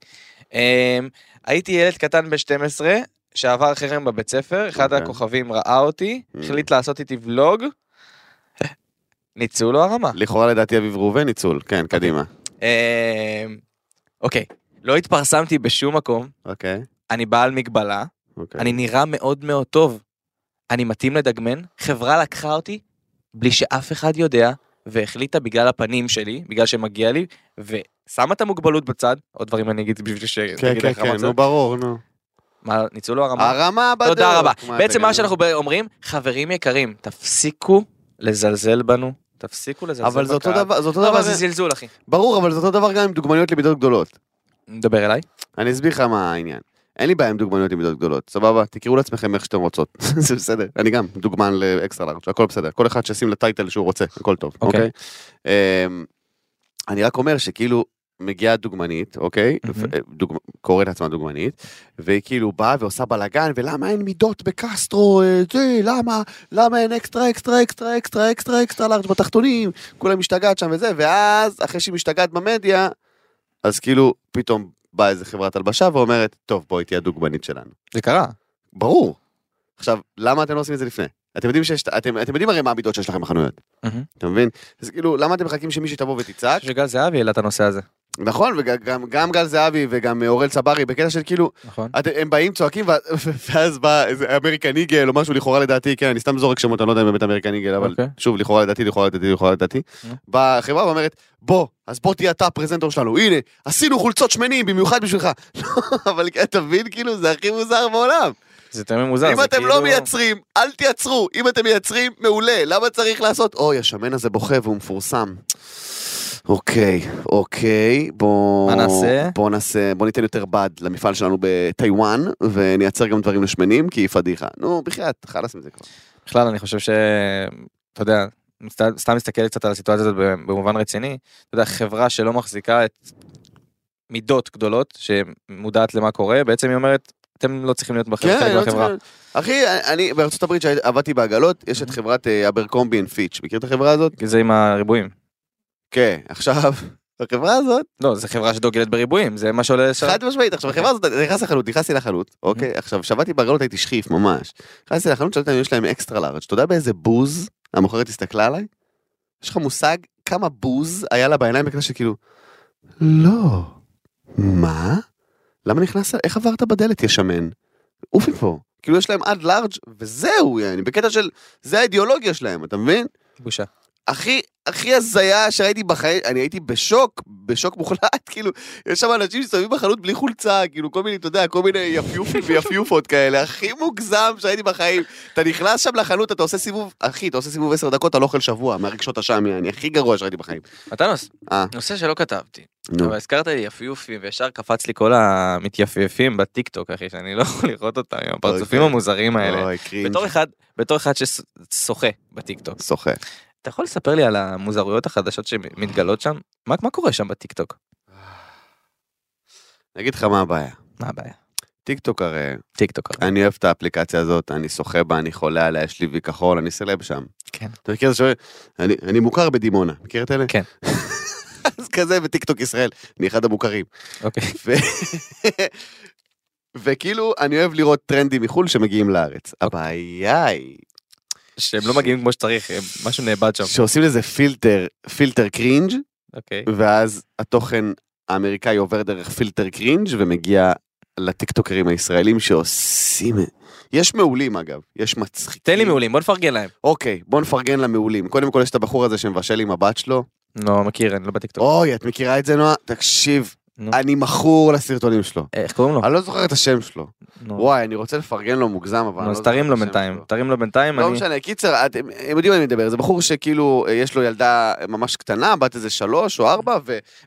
[SPEAKER 3] אמ, הייתי ילד קטן ב-12 שעבר חרם בבית ספר, אחד
[SPEAKER 2] אוקיי.
[SPEAKER 3] הכוכבים ראה אותי,
[SPEAKER 2] Mm.
[SPEAKER 3] החליט לעשות איתי ולוג, <laughs> ניצול או הרמה.
[SPEAKER 2] לכאורה לדעתי אביב ראובן ניצול, כן,
[SPEAKER 3] אוקיי.
[SPEAKER 2] קדימה.
[SPEAKER 3] אמ, אוקיי, לא התפרסמתי בשום מקום,
[SPEAKER 2] אוקיי,
[SPEAKER 3] אני בעל מגבלה,
[SPEAKER 2] אוקיי.
[SPEAKER 3] אני נראה מאוד מאוד טוב, אני מתאים לדגמן, חברה לקחה אותי בלי שאף אחד יודע, והחליטה בגלל הפנים שלי, בגלל שמגיע לי, ושמה את המוגבלות בצד, עוד דברים אני אגיד בשביל ש...
[SPEAKER 2] כן,
[SPEAKER 3] תגיד
[SPEAKER 2] כן,
[SPEAKER 3] איך רמת
[SPEAKER 2] כן,
[SPEAKER 3] זה.
[SPEAKER 2] נו ברור, נו.
[SPEAKER 3] מה, ניצול או הרמה?
[SPEAKER 2] הרמה בדוק.
[SPEAKER 3] תודה רבה.
[SPEAKER 2] מה,
[SPEAKER 3] בעצם
[SPEAKER 2] תגיד?
[SPEAKER 3] מה שאנחנו אומרים, חברים יקרים, תפסיקו לזלזל בנו, תפסיקו לזלזל
[SPEAKER 2] אבל זה אותו
[SPEAKER 3] בקהל.
[SPEAKER 2] דבר, זה אותו
[SPEAKER 3] לא,
[SPEAKER 2] דבר,
[SPEAKER 3] אבל זה זלזול, אחי.
[SPEAKER 2] ברור, אבל זה אותו דבר גם עם דוגמניות למידות גדולות.
[SPEAKER 3] מדבר אליי?
[SPEAKER 2] אני אסביר לך מה העניין. אין לי בעיה עם דוגמניות עם מידות גדולות, סבבה? תקראו לעצמכם איך שאתם רוצות, <laughs> זה בסדר. אני גם דוגמן לאקסטרה לארג', הכל בסדר. כל אחד שישים לטייטל שהוא רוצה, הכל טוב,
[SPEAKER 3] אוקיי.
[SPEAKER 2] אוקיי? אמ, אני רק אומר שכאילו מגיעה דוגמנית, אוקיי?
[SPEAKER 3] מהמם.
[SPEAKER 2] ו- דוג- קוראת לעצמה דוגמנית, והיא כאילו באה ועושה בלאגן, ולמה אין מידות בקסטרו, אה, זה, למה, למה אין אקסטרה, אקסטרה, אקסטרה, אקסטרה, אקסטרה, אקסטרה לארג' בתחתונים, כולה משתגעת שם וזה, ואז, אחרי שהיא משתגעת במדיה, אז כאילו, פתאום באה איזה חברת הלבשה ואומרת, טוב, בואי תהיה הדוגמנית שלנו.
[SPEAKER 3] זה קרה.
[SPEAKER 2] ברור. עכשיו, למה אתם לא עושים את זה לפני? אתם יודעים שיש, אתם, אתם יודעים הרי מה המידות שיש לכם בחנויות, אתה מבין? אז כאילו, למה אתם מחכים שמישהי תבוא ותצעק?
[SPEAKER 3] שגל זהבי העלה את הנושא הזה,
[SPEAKER 2] נכון, וגם גם גל זהבי וגם אורל צברי, בקטע של כאילו,
[SPEAKER 3] נכון?
[SPEAKER 2] את- הם באים, צועקים, ו- <laughs> ואז בא איזה אמריקן איגל או משהו, לכאורה לדעתי, כן, אני סתם זורק שמות, אני לא יודע אם באמת אמריקן איגל, אבל
[SPEAKER 3] אוקיי.
[SPEAKER 2] שוב, לכאורה לדעתי, לכאורה לדעתי, לכאורה לדעתי.
[SPEAKER 3] נו.
[SPEAKER 2] באה החברה ואומרת, בוא, אז בוא תהיה אתה הפרזנטור שלנו, הנה, עשינו חולצות שמנים במיוחד בשבילך. <laughs> לא, אבל אתה מבין, כאילו, זה הכי מוזר בעולם.
[SPEAKER 3] זה יותר ממוזר.
[SPEAKER 2] אם
[SPEAKER 3] זה
[SPEAKER 2] אתם
[SPEAKER 3] כאילו-
[SPEAKER 2] לא מייצרים, אל תייצרו. אם אתם מייצרים, מעולה, למה צריך לעשות? אוי, השמן הזה בוכה והוא מפורסם. אוקיי, אוקיי, בוא...
[SPEAKER 3] מה נעשה?
[SPEAKER 2] בוא נעשה, בוא ניתן יותר בד למפעל שלנו בטיוואן, ונייצר גם דברים לשמנים, כי פדיחה. נו, בחייאת, חלאס עם זה כבר.
[SPEAKER 3] בכלל אני חושב ש... אתה יודע, סת- סתם מסתכל קצת על הסיטואציה הזאת ב- במובן רציני, אתה יודע, חברה שלא מחזיקה את מידות גדולות, שמודעת למה קורה, בעצם היא אומרת, אתם לא צריכים להיות בחברה, חלק
[SPEAKER 2] לא
[SPEAKER 3] מהחברה.
[SPEAKER 2] צריך- אחי, אני בארצות הברית שעבדתי בעגלות, יש את חברת אה, אברקומבי אנד פיץ', מכיר את החברה הזאת?
[SPEAKER 3] כי זה עם הריבועים.
[SPEAKER 2] כן, עכשיו, <laughs> החברה הזאת,
[SPEAKER 3] לא, זו חברה שדוגלת בריבועים, זה מה שעולה לשם.
[SPEAKER 2] חד משמעית, עכשיו החברה הזאת, אני נכנס לחנות, נכנסתי לחנות, אוקיי, עכשיו, שעבדתי בעגלות הייתי שכיף ממש. נכנסתי לחנות, שאלתי אם יש להם אקסטרה לארג', אתה יודע באיזה בוז המוכרת הסתכלה עליי? יש לך מושג כמה בוז היה לה בעיניים בקטע שכאילו, לא, מה? למה נכנסת, איך עברת בדלת, יא שמן? עוף מפה. כאילו יש להם עד לארג' וזהו, יעני, בקטע של, זה האידיאולוגיה שלהם, אתה מבין?
[SPEAKER 3] בושה.
[SPEAKER 2] הכי, הכי הזיה שראיתי בחיים, אני הייתי בשוק, בשוק מוחלט, <laughs> כאילו, יש שם אנשים שמסתובבים בחנות בלי חולצה, כאילו, כל מיני, אתה יודע, כל מיני
[SPEAKER 3] <laughs>
[SPEAKER 2] יפיופים ויפיופות כאלה, הכי מוגזם שראיתי בחיים. אתה נכנס שם לחנות, אתה עושה סיבוב, אחי, אתה עושה סיבוב עשר דקות, אתה לא אוכל שבוע, מהרגשות השם, אני הכי גרוע שראיתי בחיים.
[SPEAKER 3] מתנוס,
[SPEAKER 2] אה.
[SPEAKER 3] נושא שלא כתבתי,
[SPEAKER 2] נו,
[SPEAKER 3] אבל הזכרת לי יפיופים, וישר קפץ לי כל המתייפייפים בטיקטוק, אחי, שאני לא יכול לראות אותם עם הפרצופים
[SPEAKER 2] אוקיי.
[SPEAKER 3] המוזרים האלה.
[SPEAKER 2] אוי, קרינג',
[SPEAKER 3] בתור אחד, בתור אחד ששוחה בטיקטוק.
[SPEAKER 2] שוחה.
[SPEAKER 3] אתה יכול לספר לי על המוזרויות החדשות שמתגלות שם? מה, מה קורה שם בטיקטוק?
[SPEAKER 2] אני אגיד לך מה הבעיה.
[SPEAKER 3] מה הבעיה?
[SPEAKER 2] טיקטוק הרי,
[SPEAKER 3] טיקטוק.
[SPEAKER 2] אני אוהב את האפליקציה הזאת, אני שוחה בה, אני חולה עליה, יש לי וי כחול, אני סלב שם.
[SPEAKER 3] כן.
[SPEAKER 2] אתה מכיר את זה שאומר, אני, אני מוכר בדימונה, מכיר את אלה?
[SPEAKER 3] כן.
[SPEAKER 2] <laughs> אז כזה בטיקטוק ישראל, אני אחד המוכרים.
[SPEAKER 3] אוקיי.
[SPEAKER 2] ו... <laughs> וכאילו, אני אוהב לראות טרנדים מחו"ל שמגיעים לארץ.
[SPEAKER 3] אוקיי.
[SPEAKER 2] הבעיה היא
[SPEAKER 3] שהם לא מגיעים כמו שצריך, הם- משהו נאבד שם.
[SPEAKER 2] שעושים לזה פילטר, פילטר קרינג',
[SPEAKER 3] אוקיי.
[SPEAKER 2] ואז התוכן האמריקאי עובר דרך פילטר קרינג' ומגיע לטיקטוקרים הישראלים שעושים... את- יש מעולים אגב, יש מצחיקים.
[SPEAKER 3] תן לי מעולים, בוא נפרגן להם.
[SPEAKER 2] אוקיי, בוא נפרגן למעולים. קודם כל יש את הבחור הזה שמבשל עם הבת שלו.
[SPEAKER 3] לא, מכיר, אני לא בטיקטוק.
[SPEAKER 2] אוי, את מכירה את זה, נועה? תקשיב,
[SPEAKER 3] נו. אה,
[SPEAKER 2] אני מכור לסרטונים שלו.
[SPEAKER 3] איך קוראים לו?
[SPEAKER 2] אני לא זוכר את השם שלו.
[SPEAKER 3] נו.
[SPEAKER 2] וואי, אני רוצה לפרגן לו מוגזם, אבל...
[SPEAKER 3] נו,
[SPEAKER 2] אני
[SPEAKER 3] אז
[SPEAKER 2] לא זוכר
[SPEAKER 3] תרים
[SPEAKER 2] את
[SPEAKER 3] לו
[SPEAKER 2] השם
[SPEAKER 3] בינתיים,
[SPEAKER 2] שלו.
[SPEAKER 3] תרים לו בינתיים,
[SPEAKER 2] לא
[SPEAKER 3] אני...
[SPEAKER 2] משנה, קיצר, אתם הם יודעים על מי מדבר, זה בחור שכאילו אה, יש לו ילדה אה, ממש קטנה, בת איזה שלוש או ארבע,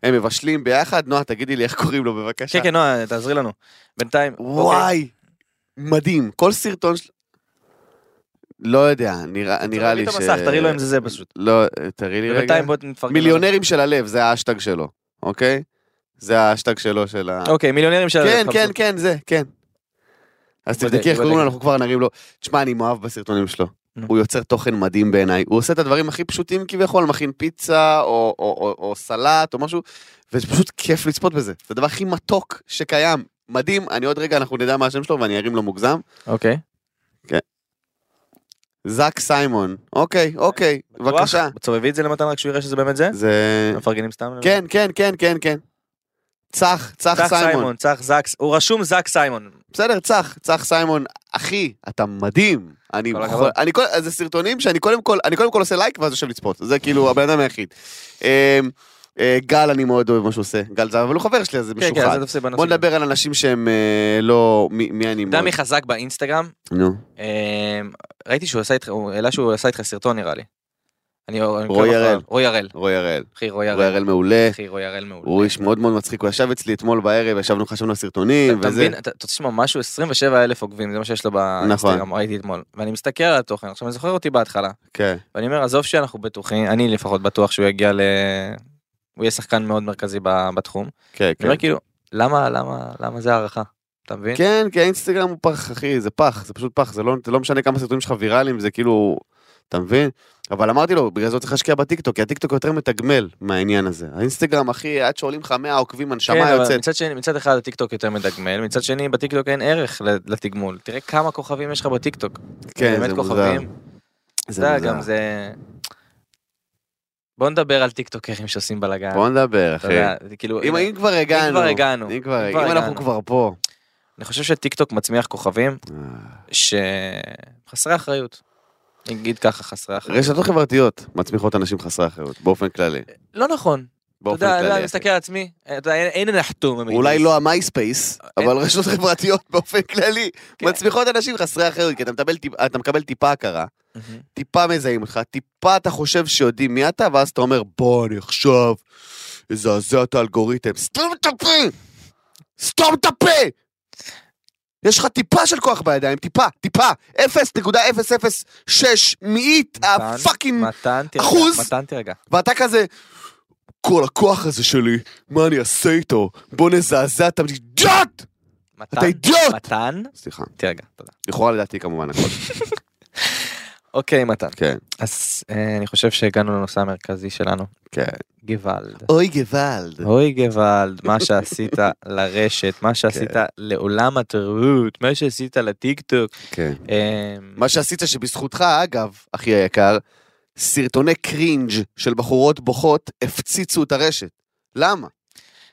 [SPEAKER 2] והם מבשלים ביחד. נועה, תגידי לי איך קוראים לו בבקשה.
[SPEAKER 3] כן, כן, נועה, תעזרי לנו. בינתיים. אוקיי.
[SPEAKER 2] וואי, מדהים, כל סרטון של... לא יודע, נראה נראה לי
[SPEAKER 3] תוריד את
[SPEAKER 2] ש...
[SPEAKER 3] המסך, תראי לו אם זה זה פשוט.
[SPEAKER 2] לא, אה, תראי לי רגע.
[SPEAKER 3] בינתיים בוא נפרגן.
[SPEAKER 2] מיליונרים של הלב, זה האשטג שלו, אוקיי? זה האשטג שלו של ה...
[SPEAKER 3] לנו. אוקיי, מיליונרים של...
[SPEAKER 2] כן,
[SPEAKER 3] חפשו.
[SPEAKER 2] כן, כן, זה, כן. אז
[SPEAKER 3] בודק,
[SPEAKER 2] תבדקי איך
[SPEAKER 3] בודק.
[SPEAKER 2] קוראים לו, אנחנו כבר נרים לו. תשמע, אני מאוהב בסרטונים שלו.
[SPEAKER 3] נו.
[SPEAKER 2] הוא יוצר תוכן מדהים בעיניי. הוא עושה את הדברים הכי פשוטים כביכול, מכין פיצה, או- או או- או סלט, או משהו, וזה פשוט כיף לצפות בזה. זה הדבר הכי מתוק שקיים. מדהים, אני עוד רגע, אנחנו נדע מה השם שלו ואני ארים לו מוגזם.
[SPEAKER 3] אוקיי.
[SPEAKER 2] זאק סיימון. אוקיי, אוקיי, בבקשה.
[SPEAKER 3] תסובבי את זה למתן רק שהוא יראה שזה באמת זה?
[SPEAKER 2] זה...
[SPEAKER 3] מפרגנים סתם?
[SPEAKER 2] כן, כן, כן, כן, כן. צח, צח
[SPEAKER 3] צח
[SPEAKER 2] סיימון.
[SPEAKER 3] סיימון, צח זקס, הוא רשום זק סיימון. כן,
[SPEAKER 2] בסדר, צח, צח סיימון, אחי, אתה מדהים. אני,
[SPEAKER 3] כל
[SPEAKER 2] כל
[SPEAKER 3] הכבוד.
[SPEAKER 2] אני כל, זה סרטונים שאני קודם כל, אני קודם כל עושה לייק ואז יושב לצפות. זה
[SPEAKER 3] <laughs>
[SPEAKER 2] כאילו הבן אדם היחיד. אה, אה, גל, אני מאוד אוהב מה שהוא עושה. גל זהב, אבל הוא חבר שלי, אז זה
[SPEAKER 3] כן, כן, אז
[SPEAKER 2] משוחד.
[SPEAKER 3] זה תפסיק בנושא.
[SPEAKER 2] בוא נדבר על אנשים שהם אה, לא... מי, מי אני
[SPEAKER 3] אתה
[SPEAKER 2] מאוד...
[SPEAKER 3] יודע מי חזק באינסטגרם?
[SPEAKER 2] נו,
[SPEAKER 3] אמ, ראיתי שהוא עשה איתך, הוא העלה שהוא עשה איתך סרטון נראה לי. אני- אני עוקב
[SPEAKER 2] רוי
[SPEAKER 3] אחריו.
[SPEAKER 2] הראל.
[SPEAKER 3] רוי הראל.
[SPEAKER 2] רועי הראל.
[SPEAKER 3] אחי רוי
[SPEAKER 2] רועי
[SPEAKER 3] הראל.
[SPEAKER 2] הראל מעולה.
[SPEAKER 3] אחי רוי הראל מעולה.
[SPEAKER 2] הוא איש מאוד מאוד מצחיק, הוא ישב אצלי אתמול בערב, ישבנו, חשבנו על סרטונים, וזה.
[SPEAKER 3] אתה
[SPEAKER 2] נכון.
[SPEAKER 3] מבין, אתה אתה רוצה לשמוע משהו 27 אלף עוקבים זה מה שיש לו באינסטגרם ראיתי אתמול ואני מסתכל על התוכן עכשיו אני זוכר אותי בהתחלה
[SPEAKER 2] כן.
[SPEAKER 3] ואני אומר עזוב שאנחנו בטוחים אני לפחות בטוח שהוא יגיע ל... הוא יהיה שחקן מאוד מרכזי ב- בתחום.
[SPEAKER 2] כן,
[SPEAKER 3] אני
[SPEAKER 2] כן.
[SPEAKER 3] אומר כאילו למה למה למה זה הערכה אתה מבין?
[SPEAKER 2] כן, כי האינסטגרם הוא פח, אחי, זה פח, זה פשוט פח, זה לא, זה לא משנה כמה סרטונים שלך ויראליים, זה כאילו, אתה מבין? אבל אמרתי לו, בגלל זה לא צריך להשקיע בטיקטוק, כי הטיקטוק יותר מתגמל מהעניין הזה. האינסטגרם, אחי, עד שעולים לך 100 עוקבים, הנשמה
[SPEAKER 3] כן, אבל
[SPEAKER 2] יוצאת.
[SPEAKER 3] מצד שני, מצד אחד הטיקטוק יותר מדגמל, מצד שני בטיקטוק אין ערך ל- לתגמול. תראה כמה כוכבים יש לך בטיקטוק.
[SPEAKER 2] כן,
[SPEAKER 3] באמת
[SPEAKER 2] זה מוזר.
[SPEAKER 3] כוכבים. זה גם זה... בוא נדבר על טיקטוקרים שעושים בלאגן.
[SPEAKER 2] בוא נדבר,
[SPEAKER 3] אתה
[SPEAKER 2] אחי.
[SPEAKER 3] יודע, זה כאילו,
[SPEAKER 2] אם
[SPEAKER 3] הנה,
[SPEAKER 2] אם כבר הגענו,
[SPEAKER 3] כבר הגענו,
[SPEAKER 2] אם כבר
[SPEAKER 3] אם כבר
[SPEAKER 2] אם אנחנו
[SPEAKER 3] הגענו.
[SPEAKER 2] כבר פה. אה,
[SPEAKER 3] אני חושב שטיקטוק מצמיח כוכבים שחסרי אחריות. נגיד ככה חסרי אחריות.
[SPEAKER 2] רשתות חברתיות מצמיחות אנשים חסרי אחריות, באופן כללי.
[SPEAKER 3] לא נכון. אתה
[SPEAKER 2] באופן
[SPEAKER 3] יודע,
[SPEAKER 2] כללי.
[SPEAKER 3] אני
[SPEAKER 2] אחי.
[SPEAKER 3] מסתכל על עצמי, אתה יודע, אין- אין נחתום.
[SPEAKER 2] אולי לא המייספייס,
[SPEAKER 3] אין.
[SPEAKER 2] אבל רשתות חברתיות <laughs> באופן כללי
[SPEAKER 3] אה, כן.
[SPEAKER 2] מצמיחות אנשים חסרי אחריות, כי אתה מקבל טיפ- אתה מקבל טיפה הכרה, טיפה מזהים אותך, טיפה אתה חושב שיודעים מי אתה, ואז אתה אומר, בוא, אני עכשיו אזעזע את האלגוריתם. סתום את הפה! סתום את הפה! יש לך טיפה של כוח בידיים, טיפה, טיפה, 0.006 מאית
[SPEAKER 3] מתן,
[SPEAKER 2] הפאקינג,
[SPEAKER 3] מתן תירגע,
[SPEAKER 2] אחוז.
[SPEAKER 3] מתן תירגע.
[SPEAKER 2] ואתה כזה, כל הכוח הזה שלי, מה אני אעשה איתו? בוא נזעזע את האידיוט!
[SPEAKER 3] מתן,
[SPEAKER 2] אתה אידיוט!
[SPEAKER 3] מתן,
[SPEAKER 2] סליחה,
[SPEAKER 3] תירגע, תודה.
[SPEAKER 2] לכאורה לדעתי כמובן הכל.
[SPEAKER 3] אוקיי, מתן.
[SPEAKER 2] כן,
[SPEAKER 3] אז אה, אני חושב שהגענו לנושא המרכזי שלנו,
[SPEAKER 2] כן.
[SPEAKER 3] גוואלד.
[SPEAKER 2] אוי גוואלד.
[SPEAKER 3] אוי גוואלד, מה
[SPEAKER 2] <laughs>
[SPEAKER 3] שעשית לרשת, מה שעשית לעולם התרבות, מה שעשית לטיק טוק.
[SPEAKER 2] כן.
[SPEAKER 3] אה,
[SPEAKER 2] מה שעשית שבזכותך, אגב, אחי היקר, סרטוני קרינג' של בחורות בוכות הפציצו את הרשת. למה?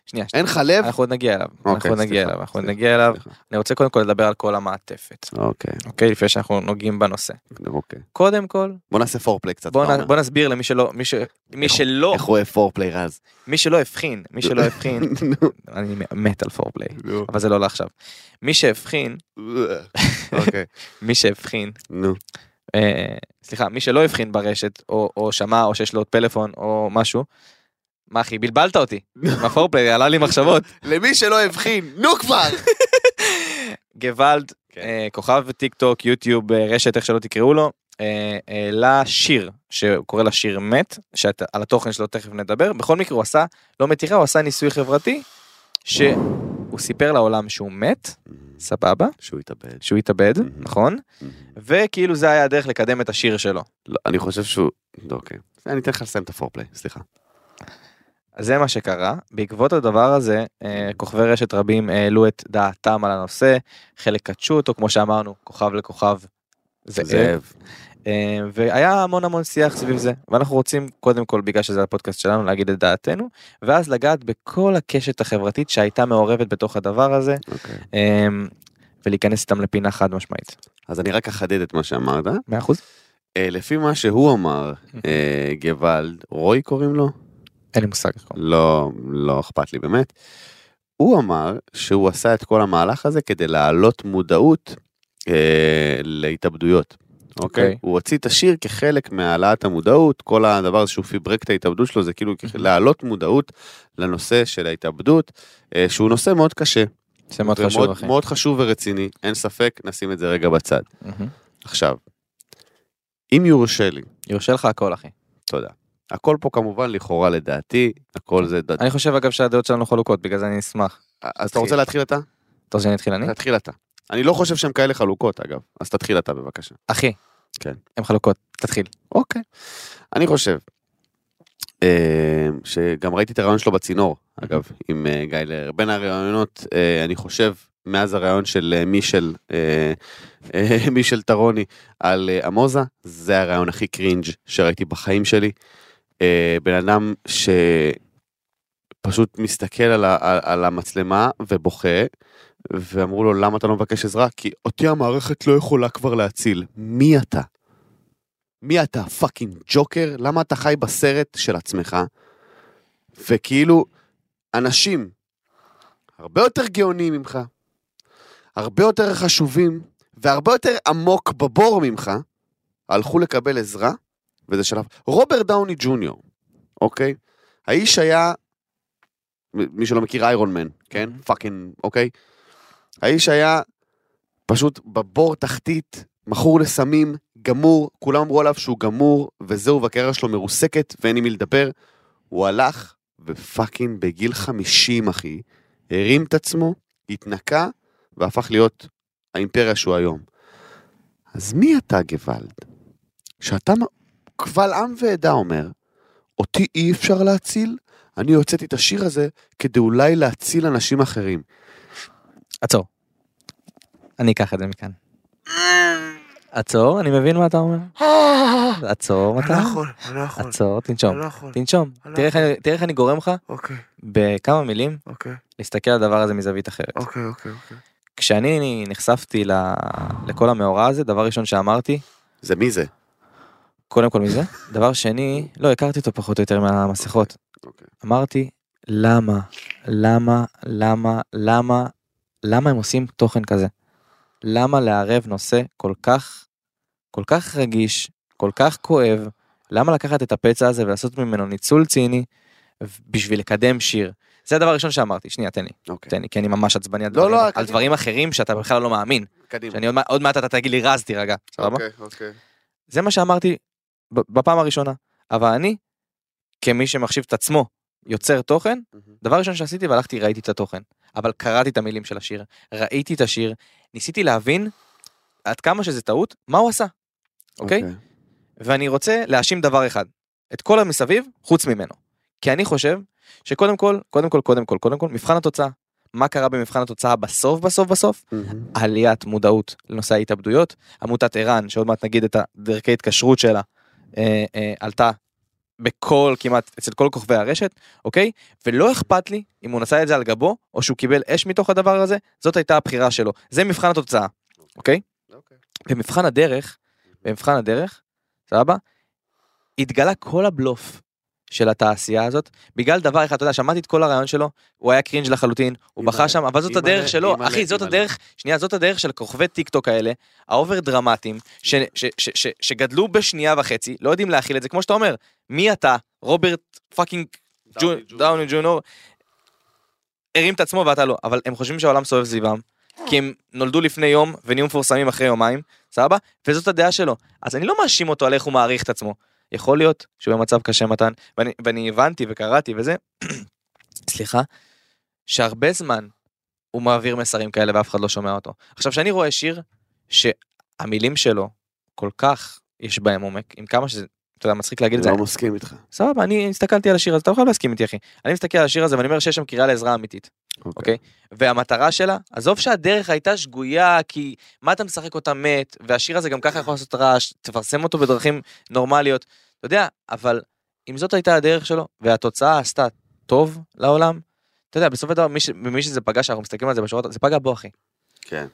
[SPEAKER 3] שנייה,
[SPEAKER 2] אין לך לב?
[SPEAKER 3] אנחנו עוד נגיע אליו,
[SPEAKER 2] אוקיי,
[SPEAKER 3] אנחנו עוד נגיע
[SPEAKER 2] סליחה,
[SPEAKER 3] אליו, אנחנו עוד
[SPEAKER 2] סליחה,
[SPEAKER 3] נגיע אליו.
[SPEAKER 2] סליחה.
[SPEAKER 3] אני רוצה קודם כל לדבר על כל המעטפת,
[SPEAKER 2] אוקיי,
[SPEAKER 3] אוקיי? לפני שאנחנו נוגעים בנושא.
[SPEAKER 2] אוקיי.
[SPEAKER 3] קודם כל,
[SPEAKER 2] בוא נעשה פורפליי קצת.
[SPEAKER 3] בוא
[SPEAKER 2] אתה
[SPEAKER 3] נ-
[SPEAKER 2] אומר.
[SPEAKER 3] בוא נסביר למי שלא, מי ש- מי
[SPEAKER 2] איך-
[SPEAKER 3] שלא,
[SPEAKER 2] איך רואה פורפליי
[SPEAKER 3] <laughs>
[SPEAKER 2] רז?
[SPEAKER 3] מי שלא הבחין, מי
[SPEAKER 2] <laughs>
[SPEAKER 3] שלא הבחין, אני מת על פורפליי,
[SPEAKER 2] נו.
[SPEAKER 3] אבל זה לא לעכשיו. מי שהבחין,
[SPEAKER 2] אוקיי,
[SPEAKER 3] מי שהבחין,
[SPEAKER 2] נו.
[SPEAKER 3] אה, סליחה, מי שלא הבחין ברשת, או, או שמע, או שיש לו עוד פלאפון, או משהו, מה אחי, בלבלת
[SPEAKER 2] <laughs>
[SPEAKER 3] אותי, עם הפורפליי, עלה לי מחשבות.
[SPEAKER 2] למי שלא הבחין, נו כבר!
[SPEAKER 3] גוואלד,
[SPEAKER 2] כן.
[SPEAKER 3] אה, כוכב טיק טוק, יוטיוב, אה, רשת, איך שלא תקראו לו, אה, העלה שיר, שקורא לה שיר מת, שעל התוכן שלו תכף נדבר, בכל מקרה הוא עשה, לא מתירה, הוא עשה ניסוי חברתי, שהוא סיפר לעולם שהוא מת, סבבה,
[SPEAKER 2] שהוא התאבד.
[SPEAKER 3] שהוא התאבד,
[SPEAKER 2] Mhm.
[SPEAKER 3] נכון? וכאילו זה היה הדרך לקדם את השיר שלו.
[SPEAKER 2] לא, אני חושב שהוא... אוקיי. אני אתן לך לסיים את הפורפליי, סליחה.
[SPEAKER 3] אז זה מה שקרה. בעקבות הדבר הזה, אה, כוכבי רשת רבים העלו את דעתם על הנושא, חלק קדשו אותו, כמו שאמרנו, כוכב לכוכב זאב, אה, והיה המון המון שיח סביב זה. ואנחנו רוצים, קודם כל, בגלל שזה הפודקאסט שלנו, להגיד את דעתנו, ואז לגעת בכל הקשת החברתית שהייתה מעורבת בתוך הדבר הזה,
[SPEAKER 2] אוקיי.
[SPEAKER 3] אה, ולהיכנס איתם לפינה חד משמעית.
[SPEAKER 2] אז אני רק אחדד את מה שאמרת.
[SPEAKER 3] מאה אחוז?
[SPEAKER 2] אה, לפי מה שהוא אמר, אה, גוואלד, רוי קוראים לו?
[SPEAKER 3] אין לי מושג. נכון.
[SPEAKER 2] לא, לא אכפת לי באמת. הוא אמר שהוא עשה את כל המהלך הזה כדי להעלות מודעות אה, להתאבדויות. אוקיי?
[SPEAKER 3] אוקיי.
[SPEAKER 2] Okay. הוא הוציא את השיר כחלק מהעלאת המודעות, כל הדבר הזה שהוא פיברק את ההתאבדות שלו זה כאילו כח- להעלות מודעות לנושא של ההתאבדות, אה, שהוא נושא מאוד קשה.
[SPEAKER 3] זה מאוד חשוב,
[SPEAKER 2] ומאוד-
[SPEAKER 3] אחי.
[SPEAKER 2] מאוד חשוב ורציני, אין ספק, נשים את זה רגע בצד.
[SPEAKER 3] מהמם.
[SPEAKER 2] עכשיו, אם יורשה לי,
[SPEAKER 3] יורשה לך הכל, אחי.
[SPEAKER 2] תודה. הכל פה כמובן לכאורה לדעתי, הכל זה דת...
[SPEAKER 3] אני חושב, אגב, שהדעות שלנו חלוקות, בגלל זה אני אשמח.
[SPEAKER 2] אז אתה רוצה להתחיל אתה?
[SPEAKER 3] אתה רוצה שאני אתחיל אה, אני?
[SPEAKER 2] תתחיל אתה. אני לא חושב שהן כאלה חלוקות אגב, אז תתחיל אתה בבקשה.
[SPEAKER 3] אחי.
[SPEAKER 2] כן.
[SPEAKER 3] הם חלוקות, תתחיל.
[SPEAKER 2] אוקיי. אני חושב אה, שגם ראיתי את הרעיון שלו בצינור, אגב, עם אה, גיא לרר. בין הרעיונות, אה, אני חושב, מאז הרעיון של אה, מישל, אה, אה, <laughs> מישל טרוני על אה, אמוזה, זה הרעיון הכי קרינג' שראיתי בחיים שלי. אה, בן אדם שפשוט מסתכל על, ה, על, על המצלמה ובוכה. ואמרו לו למה אתה לא מבקש עזרה? כי אותי המערכת לא יכולה כבר להציל. מי אתה? מי אתה פאקינג ג'וקר? למה אתה חי בסרט של עצמך? וכאילו, אנשים הרבה יותר גאונים ממך, הרבה יותר חשובים, והרבה יותר עמוק בבור ממך, הלכו לקבל עזרה, וזה שלב. רוברט דאוני ג'וניור, אוקיי? האיש היה, מ- מי שלא מכיר איירון מן, כן? פאקינג, אוקיי? האיש היה פשוט בבור תחתית, מכור לסמים, גמור, כולם אמרו עליו שהוא גמור, וזהו, והקריירה שלו מרוסקת, ואין עם מי לדבר. הוא הלך, ופאקינג בגיל 50, אחי, הרים את עצמו, התנקה, והפך להיות האימפריה שהוא היום. אז מי אתה, גוואלד? שאתה מ- קבל עם ועדה אומר, אותי אי אפשר להציל? אני הוצאתי את השיר הזה כדי אולי להציל אנשים אחרים.
[SPEAKER 3] עצור. אני אקח את זה מכאן. עצור, אני מבין מה אתה אומר. עצור, מתי?
[SPEAKER 2] אני לא יכול,
[SPEAKER 3] עצור, תנשום.
[SPEAKER 2] לא יכול.
[SPEAKER 3] תנשום.
[SPEAKER 2] אני לא
[SPEAKER 3] תראה איך אני- תראה איך אני גורם לך,
[SPEAKER 2] אוקיי,
[SPEAKER 3] בכמה מילים,
[SPEAKER 2] אוקיי,
[SPEAKER 3] להסתכל על הדבר הזה מזווית אחרת.
[SPEAKER 2] אוקיי, אוקיי.
[SPEAKER 3] כשאני נחשפתי ל- לכל המאורע הזה, דבר ראשון שאמרתי,
[SPEAKER 2] זה מי זה?
[SPEAKER 3] קודם כל מזה, דבר שני, לא, הכרתי אותו פחות או יותר מהמסכות.
[SPEAKER 2] אוקיי.
[SPEAKER 3] אמרתי, למה, למה, למה, למה, למה הם עושים תוכן כזה? למה לערב נושא כל כך כל כך רגיש, כל כך כואב, למה לקחת את הפצע הזה ולעשות ממנו ניצול ציני בשביל לקדם שיר? זה הדבר הראשון שאמרתי, שנייה תן לי,
[SPEAKER 2] אוקיי,
[SPEAKER 3] תן לי, כי אני ממש עצבני על,
[SPEAKER 2] לא,
[SPEAKER 3] דברים,
[SPEAKER 2] לא,
[SPEAKER 3] על
[SPEAKER 2] קדימה.
[SPEAKER 3] דברים אחרים שאתה בכלל לא מאמין,
[SPEAKER 2] קדימה.
[SPEAKER 3] שאני עוד, מעט- עוד מעט אתה תגיד לי רז תירגע, סבבה?
[SPEAKER 2] אוקיי, אוקיי.
[SPEAKER 3] זה מה שאמרתי ב- בפעם הראשונה, אבל אני, כמי שמחשיב את עצמו יוצר תוכן,
[SPEAKER 2] מהמם.
[SPEAKER 3] דבר ראשון שעשיתי והלכתי ראיתי את התוכן אבל קראתי את המילים של השיר ראיתי את השיר ניסיתי להבין עד כמה שזה טעות מה הוא עשה אוקיי ואני רוצה להאשים דבר אחד את כל המסביב חוץ ממנו כי אני חושב שקודם כל קודם כל קודם כל קודם כל מבחן התוצאה מה קרה במבחן התוצאה בסוף בסוף בסוף
[SPEAKER 2] מהמם.
[SPEAKER 3] עליית מודעות לנושא ההתאבדויות עמותת ער"ן שעוד מעט נגיד את הדרכי התקשרות שלה אה, אה, עלתה בכל כמעט אצל כל כוכבי הרשת אוקיי ולא אכפת לי אם הוא נשא את זה על גבו או שהוא קיבל אש מתוך הדבר הזה זאת הייתה הבחירה שלו זה מבחן התוצאה אוקיי
[SPEAKER 2] אוקיי.
[SPEAKER 3] במבחן הדרך במבחן הדרך סבבה התגלה כל הבלוף. של התעשייה הזאת בגלל דבר אחד אתה יודע שמעתי את כל הרעיון שלו הוא היה קרינג' לחלוטין הוא
[SPEAKER 2] אימא'לה,
[SPEAKER 3] בכה שם אבל זאת
[SPEAKER 2] אימא'לה,
[SPEAKER 3] הדרך שלו
[SPEAKER 2] אימא'לה,
[SPEAKER 3] אחי זאת
[SPEAKER 2] אימא'לה.
[SPEAKER 3] הדרך שנייה זאת הדרך של כוכבי טיק טוק האלה האובר דרמטיים ש- ש- ש- ש- שגדלו בשנייה וחצי לא יודעים להכיל את זה כמו שאתה אומר מי אתה רוברט פאקינג ג'ו-
[SPEAKER 2] דאוני ג'וניור.
[SPEAKER 3] דאוני ג'ונור הרים את עצמו ואתה לא אבל הם חושבים שהעולם סובב סביבם כי הם נולדו לפני יום ונהיו מפורסמים אחרי יומיים סבבה וזאת הדעה שלו אז אני לא מאשים אותו על איך הוא מעריך את עצמו יכול להיות שהוא במצב קשה מתן ואני, ואני הבנתי וקראתי וזה <clears throat> סליחה שהרבה זמן הוא מעביר מסרים כאלה ואף אחד לא שומע אותו עכשיו שאני רואה שיר שהמילים שלו כל כך יש בהם עומק עם כמה שזה אתה יודע מצחיק להגיד את
[SPEAKER 2] אני
[SPEAKER 3] זה
[SPEAKER 2] לא מסכים איתך.
[SPEAKER 3] סבבה אני הסתכלתי על השיר הזה אתה לא חייב להסכים איתי אחי אני מסתכל על השיר הזה ואני אומר שיש שם קריאה לעזרה אמיתית אוקיי. והמטרה שלה עזוב שהדרך הייתה שגויה כי מה אתה משחק אותה מת והשיר הזה גם ככה יכול לעשות רעש תפרסם אותו בדרכים נורמליות אתה יודע אבל אם זאת הייתה הדרך שלו והתוצאה עשתה טוב לעולם. אתה יודע בסופו של דבר מי, ש... מי שזה פגש אנחנו מסתכלים על זה בשורות זה פגע בו אחי
[SPEAKER 2] כן.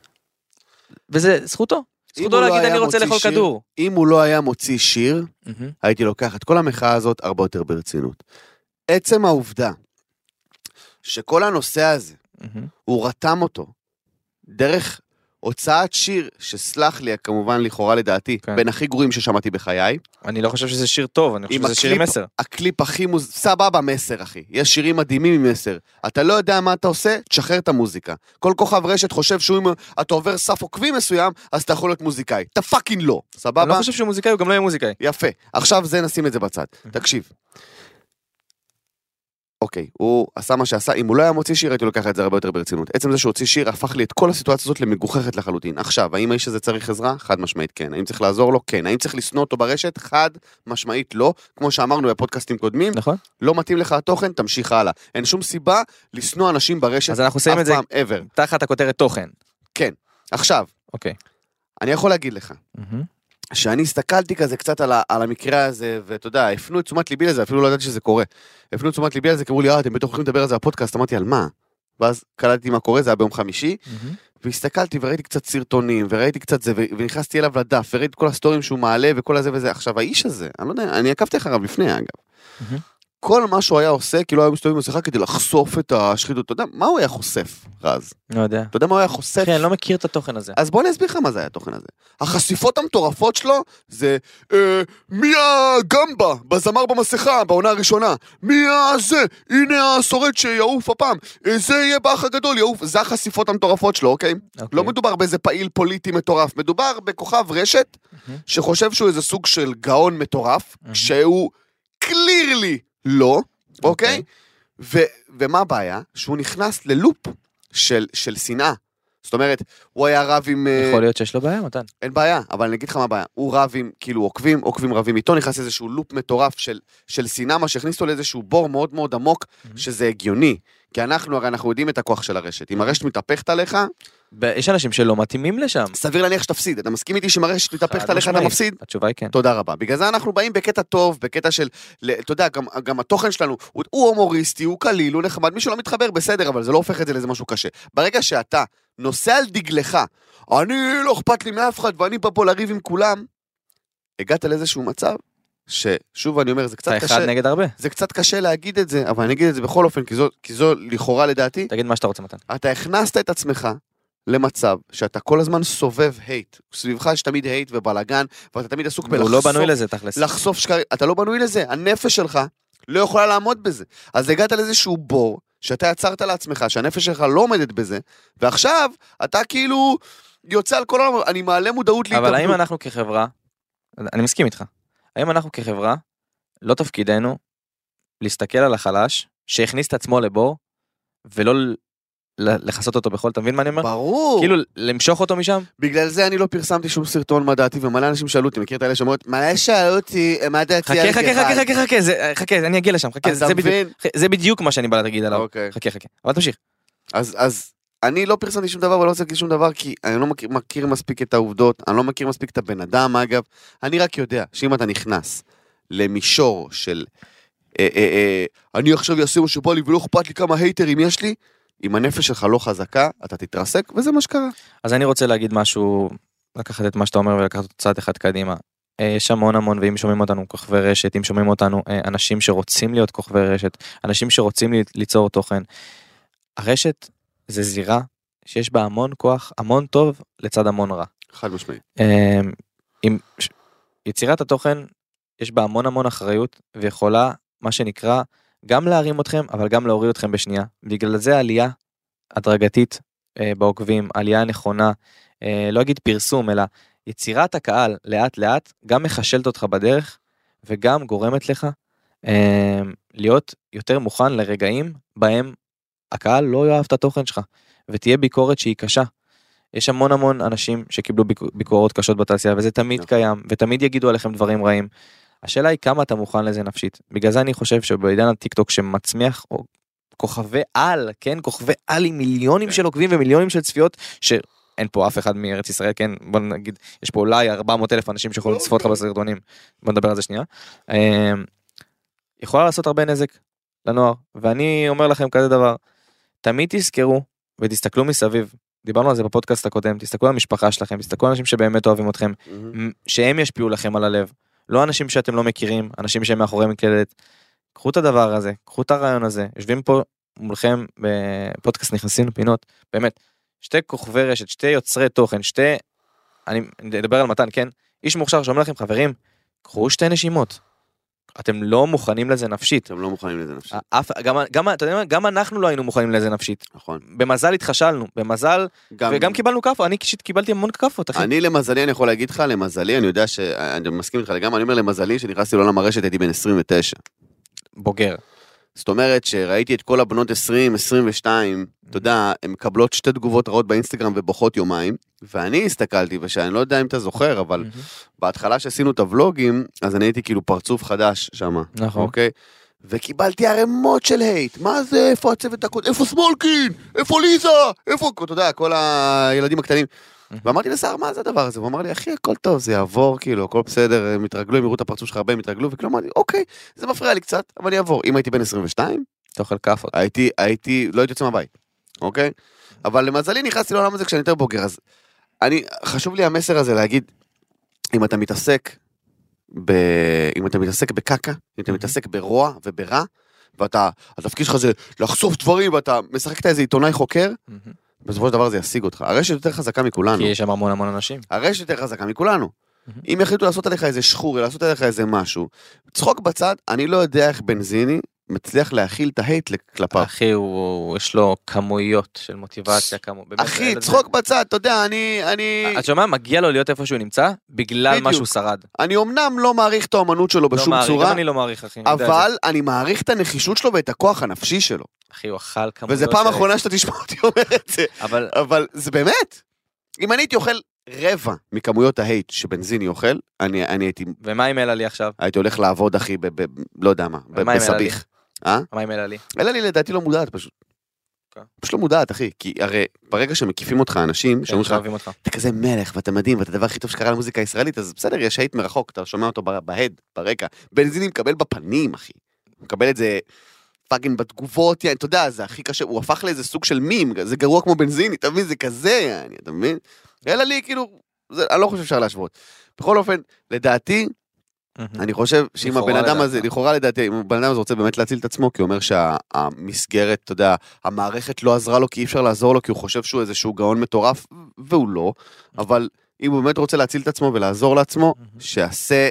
[SPEAKER 3] וזה זכותו. זכותו
[SPEAKER 2] הוא לא
[SPEAKER 3] להגיד
[SPEAKER 2] היה
[SPEAKER 3] אני רוצה
[SPEAKER 2] מוציא
[SPEAKER 3] לאכול
[SPEAKER 2] שיר-
[SPEAKER 3] כדור.
[SPEAKER 2] אם הוא לא היה מוציא שיר, הייתי לוקח את כל המחאה הזאת הרבה יותר ברצינות. עצם העובדה שכל הנושא הזה,
[SPEAKER 3] מהמם.
[SPEAKER 2] הוא רתם אותו דרך הוצאת שיר, שסלח לי, כמובן, לכאורה לדעתי,
[SPEAKER 3] כן.
[SPEAKER 2] בין הכי גרועים ששמעתי בחיי.
[SPEAKER 3] אני לא חושב שזה שיר טוב אני חושב
[SPEAKER 2] עם
[SPEAKER 3] שזה שיר עם
[SPEAKER 2] הקליפ-
[SPEAKER 3] מסר.
[SPEAKER 2] הקליפ הכי מוז... סבבה מסר, אחי. יש שירים מדהימים עם מסר. אתה לא יודע מה אתה עושה, תשחרר את המוזיקה. כל כוכב רשת חושב שאם אתה עובר סף עוקבים מסוים, אז אתה יכול להיות מוזיקאי. אתה פאקינג לא,
[SPEAKER 3] אני לא
[SPEAKER 2] סבבה?
[SPEAKER 3] חושב שהוא מוזיקאי הוא גם לא יהיה מוזיקאי.
[SPEAKER 2] יפה. עכשיו זה, נשים את זה בצד. תקשיב. אוקיי, הוא עשה מה שעשה, אם הוא לא היה מוציא שיר, הייתי לוקח את זה הרבה יותר ברצינות. עצם זה שהוא הוציא שיר הפך לי את כל הסיטואציה הזאת למגוחכת לחלוטין. עכשיו, האם האיש הזה צריך עזרה? חד משמעית כן. האם צריך לעזור לו? כן. האם צריך לשנוא אותו ברשת? חד משמעית לא. כמו שאמרנו בפודקאסטים קודמים,
[SPEAKER 3] נכון.
[SPEAKER 2] לא מתאים לך התוכן, תמשיך הלאה. אין שום סיבה לשנוא אנשים ברשת
[SPEAKER 3] אז אנחנו נסיים את
[SPEAKER 2] אף
[SPEAKER 3] זה
[SPEAKER 2] פעם, ever.
[SPEAKER 3] תחת הכותרת תוכן.
[SPEAKER 2] עכשיו,
[SPEAKER 3] אוקיי.
[SPEAKER 2] אני יכול להגיד לך, שאני הסתכלתי כזה קצת על, ה, על המקרה הזה, ואתה יודע, הפנו את תשומת ליבי לזה, אפילו לא ידעתי שזה קורה. הפנו את תשומת ליבי לזה, כי אמרו לי, אה, אתם בטח הולכים לדבר על זה בפודקאסט, אמרתי, על מה? ואז קלטתי מה קורה, זה היה ביום חמישי, והסתכלתי וראיתי קצת סרטונים, וראיתי קצת זה, ו- ונכנסתי אליו לדף, וראיתי את כל הסטורים שהוא מעלה, וכל הזה וזה. עכשיו, האיש הזה, אני לא יודע, אני עקבתי אחריו לפני, אגב.
[SPEAKER 3] מהמם.
[SPEAKER 2] כל מה שהוא היה עושה, כאילו היה מסתובב עם מסכה כדי לחשוף את השחיתות. אתה יודע, מה הוא היה חושף, רז?
[SPEAKER 3] לא יודע.
[SPEAKER 2] אתה יודע מה הוא היה חושף?
[SPEAKER 3] כן, לא מכיר את התוכן הזה.
[SPEAKER 2] אז בוא אני אסביר לך מה זה היה התוכן הזה. החשיפות המטורפות שלו זה אה, מי הגמבה בזמר במסכה בעונה הראשונה? מי הזה? הנה השורד שיעוף הפעם. אה, זה יהיה באח הגדול, יעוף. זה החשיפות המטורפות שלו, אוקיי?
[SPEAKER 3] אוקיי.
[SPEAKER 2] לא מדובר באיזה פעיל פוליטי מטורף, מדובר בכוכב רשת
[SPEAKER 3] מהמם.
[SPEAKER 2] שחושב שהוא איזה סוג של גאון מטורף,
[SPEAKER 3] מהמם.
[SPEAKER 2] שהוא קלירלי לא,
[SPEAKER 3] אוקיי.
[SPEAKER 2] אוקיי? ו- ומה הבעיה? שהוא נכנס ללופ של של שנאה. זאת אומרת, הוא היה רב עם... אה,
[SPEAKER 3] יכול להיות שיש לו בעיה, מתן.
[SPEAKER 2] אין בעיה, אבל אני אגיד לך מה הבעיה. הוא רב עם, כאילו, עוקבים, עוקבים רבים איתו, נכנס לאיזשהו לופ מטורף של, של שנאה, מה שהכניס אותו לאיזשהו בור מאוד מאוד עמוק,
[SPEAKER 3] Mhm.
[SPEAKER 2] שזה הגיוני. כי אנחנו, הרי אנחנו יודעים את הכוח של הרשת. אם הרשת מתהפכת עליך,
[SPEAKER 3] ב- יש אנשים שלא מתאימים לשם.
[SPEAKER 2] סביר להניח שתפסיד. אתה מסכים איתי שאם הרשת מתהפכת
[SPEAKER 3] חד
[SPEAKER 2] עליך אתה
[SPEAKER 3] משמעית.
[SPEAKER 2] מפסיד?
[SPEAKER 3] התשובה היא כן.
[SPEAKER 2] תודה רבה. בגלל זה אנחנו באים בקטע טוב, בקטע של, ל- אתה יודע, גם, גם התוכן שלנו, הוא, הוא הומוריסטי, הוא קליל, הוא נחמד, מי שלא מתחבר בסדר, אבל זה לא הופך את זה לאיזה משהו קשה. ברגע שאתה נוסע על דגלך, אני לא אכפת לי מאף אחד ואני בא פה לריב עם כולם, הגעת לאיזשהו מצב, ששוב אני אומר, זה קצת
[SPEAKER 3] אתה אחד
[SPEAKER 2] קשה,
[SPEAKER 3] נגד הרבה.
[SPEAKER 2] זה קצת קשה להגיד את זה, אבל אני אגיד את זה בכל אופן, כי זו, כי זו לכאורה לדעתי,
[SPEAKER 3] תגיד מה שאתה רוצה, מתן.
[SPEAKER 2] אתה הכנסת את עצמך למצב שאתה כל הזמן סובב הייט. סביבך יש תמיד הייט ובלאגן, ואתה תמיד עסוק
[SPEAKER 3] הוא
[SPEAKER 2] בלחשוף
[SPEAKER 3] לא בנוי לזה תכלס.
[SPEAKER 2] לחשוף שקרים, אתה לא בנוי לזה, הנפש שלך לא יכולה לעמוד בזה. אז הגעת לאיזשהו בור שאתה יצרת לעצמך, שהנפש שלך לא עומדת בזה, ועכשיו אתה כאילו יוצא על כל העולם, אני מעלה מודעות להתאבדות.
[SPEAKER 3] אבל האם אנחנו כחברה, אני מסכים איתך, האם אנחנו כחברה, לא תפקידנו להסתכל על החלש שהכניס את עצמו לבור, ולא ל- לכסות אותו בחול, אתה מבין מה אני אומר?
[SPEAKER 2] ברור.
[SPEAKER 3] כאילו למשוך אותו משם?
[SPEAKER 2] בגלל זה אני לא פרסמתי שום סרטון מה דעתי, ומלא אנשים שאלו אותי, מכיר את האלה שאומרות, מלא שאלו אותי אה, מה דעתי
[SPEAKER 3] חכה חכה חכה חכה חכה זה- חכה אני אגיע לשם חכה
[SPEAKER 2] אז אתה
[SPEAKER 3] זה בדיוק- לא.
[SPEAKER 2] מבין?
[SPEAKER 3] זה בדיוק מה שאני בא להגיד עליו
[SPEAKER 2] אוקיי.
[SPEAKER 3] חכה חכה אבל תמשיך
[SPEAKER 2] אז, אז אני לא פרסמתי שום דבר ולא רוצה להגיד שום דבר, כי אני לא מכיר, מכיר מספיק את העובדות, אני לא מכיר מספיק את הבן אדם, אגב. אני רק יודע שאם אתה נכנס למישור של אה, אה, אה, אני עכשיו אעשה מה שבא לי ולא אכפת לי כמה הייטרים יש לי, אם הנפש שלך לא חזקה, אתה תתרסק, וזה מה שקרה.
[SPEAKER 3] אז אני רוצה להגיד משהו לקחת את מה שאתה אומר ולקחת אותו צעד אחד קדימה. אה, יש המון המון ואם שומעים אותנו כוכבי רשת אם שומעים אותנו אה, אנשים שרוצים להיות כוכבי רשת אנשים שרוצים ל- ליצור תוכן. הרשת זה זירה שיש בה המון כוח המון טוב לצד המון רע.
[SPEAKER 2] חד משמעית.
[SPEAKER 3] אה, עם ש- יצירת התוכן יש בה המון המון אחריות ויכולה מה שנקרא גם להרים אתכם אבל גם להוריד אתכם בשנייה בגלל זה עלייה הדרגתית אה, בעוקבים עלייה נכונה אה, לא אגיד פרסום אלא יצירת הקהל לאט לאט גם מחשלת אותך בדרך וגם גורמת לך אה, להיות יותר מוכן לרגעים בהם הקהל לא יאהב את התוכן שלך ותהיה ביקורת שהיא קשה. יש המון המון אנשים שקיבלו ביק- ביקורות קשות בתעשייה וזה תמיד
[SPEAKER 2] נכון.
[SPEAKER 3] קיים ותמיד יגידו עליכם דברים רעים. השאלה היא כמה אתה מוכן לזה נפשית. בגלל זה אני חושב שבעידן הטיק טוק שמצמיח או, כוכבי על, כן? כוכבי על עם מיליונים
[SPEAKER 2] כן.
[SPEAKER 3] של עוקבים ומיליונים של צפיות, שאין פה אף אחד מארץ ישראל, כן? בוא נגיד, יש פה אולי 400 אלף אנשים שיכולים
[SPEAKER 2] אוקיי.
[SPEAKER 3] לצפות לך בסרטונים. בוא נדבר על זה שנייה. אמ, יכולה לעשות הרבה נזק לנוער, ואני אומר לכם כזה דבר, תמיד תזכרו ותסתכלו מסביב. דיברנו על זה בפודקאסט הקודם, תסתכלו על המשפחה שלכם, תסתכלו על אנשים שבאמת אוהבים אתכם, מ- שהם ישפיעו לכם על הלב. לא אנשים שאתם לא מכירים, אנשים שהם מאחורי מקלדת. קחו את הדבר הזה, קחו את הרעיון הזה, יושבים פה מולכם בפודקאסט נכנסים לפינות, באמת, שתי כוכבי רשת, שתי יוצרי תוכן, שתי... אני אני אדבר על מתן, כן? איש מוכשר שאומר לכם, חברים, קחו שתי נשימות. אתם לא מוכנים לזה נפשית.
[SPEAKER 2] אתם לא מוכנים לזה נפשית,
[SPEAKER 3] אף, גם, גם, אתה יודע מה? גם אנחנו לא היינו מוכנים לזה נפשית.
[SPEAKER 2] נכון.
[SPEAKER 3] במזל התחשלנו, במזל, וגם קיבלנו כאפות, אני אישית קיבלתי המון כאפות, אחי.
[SPEAKER 2] אני למזלי, אני יכול להגיד לך, למזלי, אני יודע ש... אני מסכים איתך לגמרי, אני אומר למזלי, שנכנסתי לעולם הרשת הייתי בן 29.
[SPEAKER 3] בוגר.
[SPEAKER 2] זאת אומרת שראיתי את כל הבנות 20, 22, אתה יודע, הן מקבלות שתי תגובות רעות באינסטגרם ובוכות יומיים, ואני הסתכלתי, ושאני לא יודע אם אתה זוכר, אבל בהתחלה שעשינו את הוולוגים, אז אני הייתי כאילו פרצוף חדש שם,
[SPEAKER 3] נכון.
[SPEAKER 2] אוקיי? וקיבלתי ערימות של הייט, מה זה, איפה הצוות הקודם, איפה סמולקין, איפה ליזה, איפה, אתה יודע, כל הילדים הקטנים. ואמרתי לשר, מה זה הדבר הזה? הוא אמר לי, אחי, הכל טוב, זה יעבור, כאילו, הכל בסדר, הם יתרגלו, הם יראו את הפרצוף שלך הרבה, הם יתרגלו, וכאילו אמרתי, אוקיי, זה מפריע לי קצת, אבל יעבור. אם הייתי בן 22,
[SPEAKER 3] אתה אוכל כאפות.
[SPEAKER 2] הייתי, הייתי, לא הייתי יוצא מהבית, אוקיי? אבל למזלי נכנסתי לעולם הזה כשאני יותר בוגר, אז אני, חשוב לי המסר הזה להגיד, אם אתה מתעסק, ב, אם אתה מתעסק בקקה, אם אתה
[SPEAKER 3] Mhm.
[SPEAKER 2] מתעסק ברוע וברע, ואתה, התפקיד שלך זה לחשוף דברים, ואתה משחק את איזה עיתונאי חוקר, בסופו של דבר זה ישיג אותך. הרשת יותר חזקה מכולנו.
[SPEAKER 3] כי יש שם המון המון אנשים.
[SPEAKER 2] הרשת יותר חזקה מכולנו.
[SPEAKER 3] מהמם.
[SPEAKER 2] אם יחליטו לעשות עליך איזה שחור, לעשות עליך איזה משהו, צחוק בצד, אני לא יודע איך בנזיני מצליח להכיל את ההייט כלפיו.
[SPEAKER 3] אחי, הוא, הוא- יש לו כמויות של מוטיבציה, כמו... באמת,
[SPEAKER 2] אחי,
[SPEAKER 3] הילד הזה-
[SPEAKER 2] צחוק בצד, אתה יודע, אני, אני,
[SPEAKER 3] אתה שומע? מגיע לו להיות איפה שהוא נמצא, בגלל מה
[SPEAKER 2] בדיוק.
[SPEAKER 3] שהוא שרד.
[SPEAKER 2] אני אמנם לא מעריך את האומנות שלו
[SPEAKER 3] לא
[SPEAKER 2] בשום
[SPEAKER 3] מעריך, גם
[SPEAKER 2] צורה,
[SPEAKER 3] אני לא מעריך, אחי. אני יודע את
[SPEAKER 2] אבל
[SPEAKER 3] זה.
[SPEAKER 2] אני מעריך את הנחישות שלו ואת הכוח הנפשי שלו.
[SPEAKER 3] אחי, הוא אכל כמויות...
[SPEAKER 2] וזו פעם
[SPEAKER 3] של-
[SPEAKER 2] אחרונה שאתה תשמע אותי אומר את זה,
[SPEAKER 3] אבל...
[SPEAKER 2] אבל זה באמת. אם אני הייתי אוכל רבע מכמויות ההייט שבנזיני אוכל, אני אני הייתי
[SPEAKER 3] ומה עם אלה לי עכשיו?
[SPEAKER 2] הייתי הולך לעבוד, אחי, ב... ב- לא יודע מה, ב-
[SPEAKER 3] ומה עם
[SPEAKER 2] בסביח. אה?
[SPEAKER 3] מה עם אלה לי?
[SPEAKER 2] אלה לי לדעתי לא מודעת פשוט.
[SPEAKER 3] אוקיי.
[SPEAKER 2] פשוט לא מודעת, אחי, כי הרי ברגע שמקיפים אותך אנשים, שאומרים לך,
[SPEAKER 3] כן, שאוהבים אותך.
[SPEAKER 2] אתה כזה מלך ואתה מדהים ואתה הדבר הכי טוב שקרה למוזיקה הישראלית, אז בסדר, יש הייט מרחוק, אתה שומע אותו ב- בהד, ברקע. בנזיני מקבל בפנים, אחי. הוא מקבל את זה פאגינג בתגובות, יעני, אתה יודע, זה הכי קשה, הוא הפך לאיזה סוג של מים, זה גרוע כמו בנזיני, אתה מבין? זה כזה, יעני, אתה מבין? אלא לי, כאילו, זה, אני לא חושב שאפשר להשוות. בכל אופן, לדעתי, אני חושב שאם
[SPEAKER 3] לכאורה
[SPEAKER 2] הבן אדם
[SPEAKER 3] לדעתך.
[SPEAKER 2] הזה, לכאורה לדעתי, אם הבן אדם הזה רוצה באמת להציל את עצמו, כי הוא אומר שהמסגרת, אתה יודע, המערכת לא עזרה לו כי אי אפשר לעזור לו, כי הוא חושב שהוא איזשהו גאון מטורף, והוא לא, אבל אם הוא באמת רוצה להציל את עצמו ולעזור לעצמו,
[SPEAKER 3] מהמם.
[SPEAKER 2] שיעשה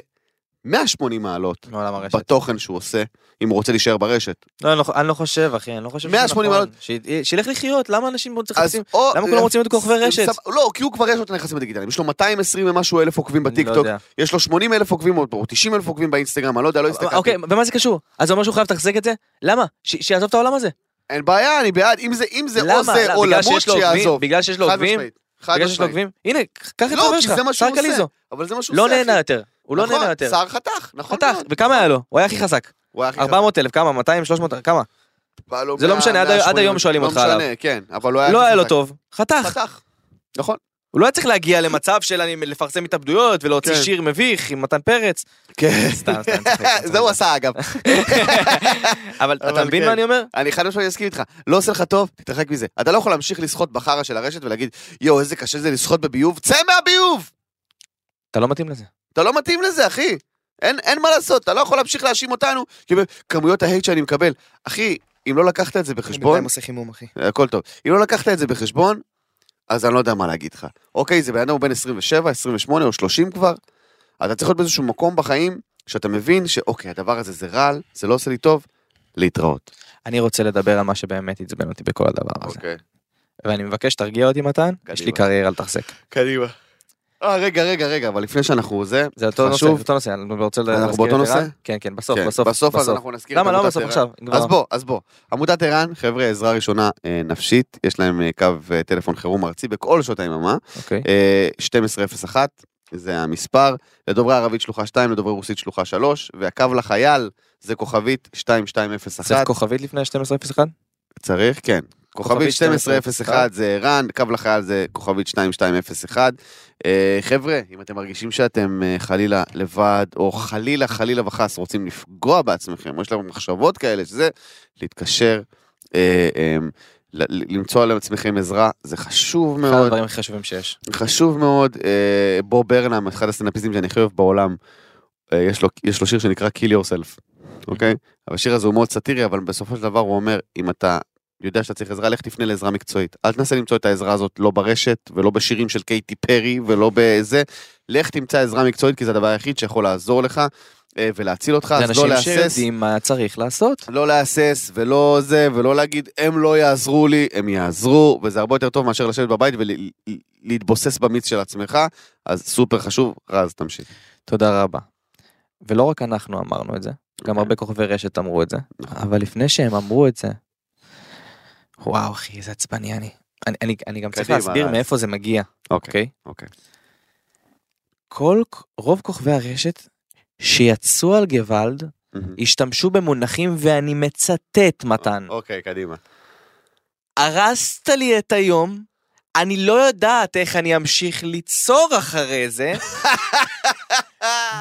[SPEAKER 2] 180 מעלות
[SPEAKER 3] מעולם הרשת.
[SPEAKER 2] בתוכן שהוא עושה, אם הוא רוצה להישאר ברשת.
[SPEAKER 3] לא, אני לא, אני לא חושב, אחי, אני לא חושב שזה
[SPEAKER 2] 180
[SPEAKER 3] נכון.
[SPEAKER 2] מעלות.
[SPEAKER 3] ש- שילך לחיות, למה אנשים בו
[SPEAKER 2] אז
[SPEAKER 3] צריכים...
[SPEAKER 2] או...
[SPEAKER 3] למה כולם רוצים להיות כוכבי רשת?
[SPEAKER 2] סבבה, לא, כי הוא כבר יש לו את הנכסים הדיגיטליים, יש לו 220 ומשהו אלף עוקבים
[SPEAKER 3] לא
[SPEAKER 2] בטיקטוק, יש לו 80 אלף עוקבים עוד פה, או 90 אלף עוקבים באינסטגרם, אני לא יודע, לא הסתכלתי.
[SPEAKER 3] אוקיי, ומה זה קשור? אז זה אומר שהוא חייב לתחזק את זה? למה? ש- שיעזוב את העולם הזה.
[SPEAKER 2] אין בעיה, אני בעד, אם זה, אם זה
[SPEAKER 3] למה?
[SPEAKER 2] או זה
[SPEAKER 3] למה?
[SPEAKER 2] או
[SPEAKER 3] בגלל
[SPEAKER 2] למות,
[SPEAKER 3] שיש לו עוקבים?
[SPEAKER 2] שיעזוב.
[SPEAKER 3] בגלל שיש לו
[SPEAKER 2] חד
[SPEAKER 3] עוקבים?
[SPEAKER 2] משמעית, חד
[SPEAKER 3] בגלל שיש לו
[SPEAKER 2] משמעית.
[SPEAKER 3] עוקבים? הנה, קח את
[SPEAKER 2] לא,
[SPEAKER 3] החבר
[SPEAKER 2] כי
[SPEAKER 3] שלך,
[SPEAKER 2] זה מה שהוא
[SPEAKER 3] שר
[SPEAKER 2] עושה.
[SPEAKER 3] קליזו.
[SPEAKER 2] אבל זה מה שהוא
[SPEAKER 3] לא
[SPEAKER 2] עושה,
[SPEAKER 3] נהנה
[SPEAKER 2] אחי.
[SPEAKER 3] יותר. הוא לא
[SPEAKER 2] נכון,
[SPEAKER 3] נהנה יותר.
[SPEAKER 2] שר חתך, נכון.
[SPEAKER 3] חתך,
[SPEAKER 2] מאוד.
[SPEAKER 3] וכמה היה לו? הוא היה הכי חזק.
[SPEAKER 2] הוא היה הכי
[SPEAKER 3] 400 אלף, כמה? 200? 300? כמה?
[SPEAKER 2] חתך. בא לו
[SPEAKER 3] זה לא משנה, עד
[SPEAKER 2] 180,
[SPEAKER 3] עד היום שואלים
[SPEAKER 2] לא
[SPEAKER 3] אותך עליו.
[SPEAKER 2] משנה, כן, אבל הוא היה...
[SPEAKER 3] לא
[SPEAKER 2] הכי
[SPEAKER 3] היה לו
[SPEAKER 2] חזק.
[SPEAKER 3] טוב, חתך.
[SPEAKER 2] <laughs> חתך. נכון.
[SPEAKER 3] הוא לא היה צריך להגיע למצב של אני לפרסם התאבדויות ולהוציא
[SPEAKER 2] כן.
[SPEAKER 3] שיר מביך עם מתן פרץ.
[SPEAKER 2] כן.
[SPEAKER 3] סתם, סתם, צוחק,
[SPEAKER 2] <laughs> זה הוא עשה אגב.
[SPEAKER 3] אבל אתה
[SPEAKER 2] אבל
[SPEAKER 3] מבין
[SPEAKER 2] כן.
[SPEAKER 3] מה אני אומר?
[SPEAKER 2] אני חד משמעית אסכים איתך. לא עושה לך טוב, תתרחק מזה. אתה לא יכול להמשיך לשחות בחרא של הרשת ולהגיד, יואו, איזה קשה זה לשחות בביוב, צא מהביוב!
[SPEAKER 3] אתה לא מתאים לזה.
[SPEAKER 2] אתה לא מתאים לזה, אחי. אין, אין מה לעשות, אתה לא יכול להמשיך להאשים אותנו, כי כמויות ההייט שאני מקבל. אחי, אם לא לקחת את זה בחשבון,
[SPEAKER 3] עושה חימום, אחי.
[SPEAKER 2] הכל טוב. אם לא לקחת את זה בחשבון, אז אני לא יודע מה להגיד לך. אוקיי, זה בן אדם הוא בן 27, 28 או 30 כבר, אתה צריך להיות באיזשהו מקום בחיים, שאתה מבין שאוקיי, הדבר הזה זה רעל, זה לא עושה לי טוב, להתראות.
[SPEAKER 3] אני רוצה לדבר על מה שבאמת עצבן אותי בכל הדבר הזה. ואני מבקש שתרגיע אותי מתן, יש לי
[SPEAKER 2] קדימה.
[SPEAKER 3] קריירה לתחזק.
[SPEAKER 2] קדימה. אה, רגע, רגע, רגע, אבל לפני שאנחנו זה,
[SPEAKER 3] זה אותו נושא,
[SPEAKER 2] חשוב.
[SPEAKER 3] אותו נושא, אני רוצה להזכיר
[SPEAKER 2] אנחנו
[SPEAKER 3] את
[SPEAKER 2] באותו
[SPEAKER 3] ערן.
[SPEAKER 2] נושא?
[SPEAKER 3] כן, כן, בסוף,
[SPEAKER 2] כן,
[SPEAKER 3] בסוף,
[SPEAKER 2] בסוף אז אנחנו נזכיר את
[SPEAKER 3] למה, למה
[SPEAKER 2] עמותת
[SPEAKER 3] בסוף
[SPEAKER 2] ער"ן.
[SPEAKER 3] עכשיו? כבר.
[SPEAKER 2] אז בוא, אז בוא. עמותת ער"ן, חבר'ה, עזרה ראשונה אה, נפשית, יש להם אה, קו אה, טלפון חירום ארצי בכל שעות היממה,
[SPEAKER 3] אוקיי.
[SPEAKER 2] אה, 1201, זה המספר, לדוברי ערבית שלוחה 2, לדוברי רוסית שלוחה 3, והקו לחייל זה כוכבית
[SPEAKER 3] צריך
[SPEAKER 2] 2201,
[SPEAKER 3] כוכבית לפני ה-1201?
[SPEAKER 2] צריך, כן. כוכבית
[SPEAKER 3] 1201.
[SPEAKER 2] 1201 זה ער"ן, קו לחייל זה כוכבית 2201. אה, חבר'ה, אם אתם מרגישים שאתם אה, חלילה לבד, או חלילה, חלילה וחס, רוצים לפגוע בעצמכם, או יש לכם מחשבות כאלה, שזה להתקשר, אה, אה, ל- למצוא לעצמכם עזרה, זה חשוב
[SPEAKER 3] אחד
[SPEAKER 2] מאוד.
[SPEAKER 3] הדברים הכי חשובים שיש.
[SPEAKER 2] חשוב מאוד, אה, בוב ברנם, אחד הסטנדאפיסטים שאני הכי אוהב בעולם, אה, יש לו, יש לו שיר שנקרא Kill Yourself, אוקיי? השיר הזה הוא מאוד סאטירי, אבל בסופו של דבר הוא אומר, אם אתה יודע שאתה צריך עזרה, לך תפנה לעזרה מקצועית. אל תנסה למצוא את העזרה הזאת לא ברשת, ולא בשירים של קייטי פרי, ולא בזה. לך תמצא עזרה מקצועית, כי זה הדבר היחיד שיכול לעזור לך אה, ולהציל אותך,
[SPEAKER 3] זה
[SPEAKER 2] אז לא
[SPEAKER 3] אנשים
[SPEAKER 2] להסס.
[SPEAKER 3] שיודעים מה צריך לעשות.
[SPEAKER 2] לא להסס ולא זה, ולא להגיד, הם לא יעזרו לי, הם יעזרו, וזה הרבה יותר טוב מאשר לשבת בבית ולהתבוסס במיץ של עצמך, אז סופר חשוב. רז, תמשיך.
[SPEAKER 3] תודה רבה. ולא רק אנחנו אמרנו את זה, גם
[SPEAKER 2] אוקיי.
[SPEAKER 3] הרבה כוכבי רשת אמרו את זה,
[SPEAKER 2] נכון.
[SPEAKER 3] אבל לפני שהם אמרו את זה, וואו אחי, איזה עצבני אני. אני, אני, אני גם צריך
[SPEAKER 2] קדימה,
[SPEAKER 3] להסביר
[SPEAKER 2] אז. כן.
[SPEAKER 3] מאיפה זה מגיע, אוקיי?
[SPEAKER 2] אוקיי.
[SPEAKER 3] כל, רוב כוכבי הרשת שיצאו על גוואלד, השתמשו במונחים ואני מצטט מתן.
[SPEAKER 2] אוקיי, קדימה.
[SPEAKER 3] הרסת לי את היום, אני לא יודעת איך אני אמשיך ליצור אחרי זה.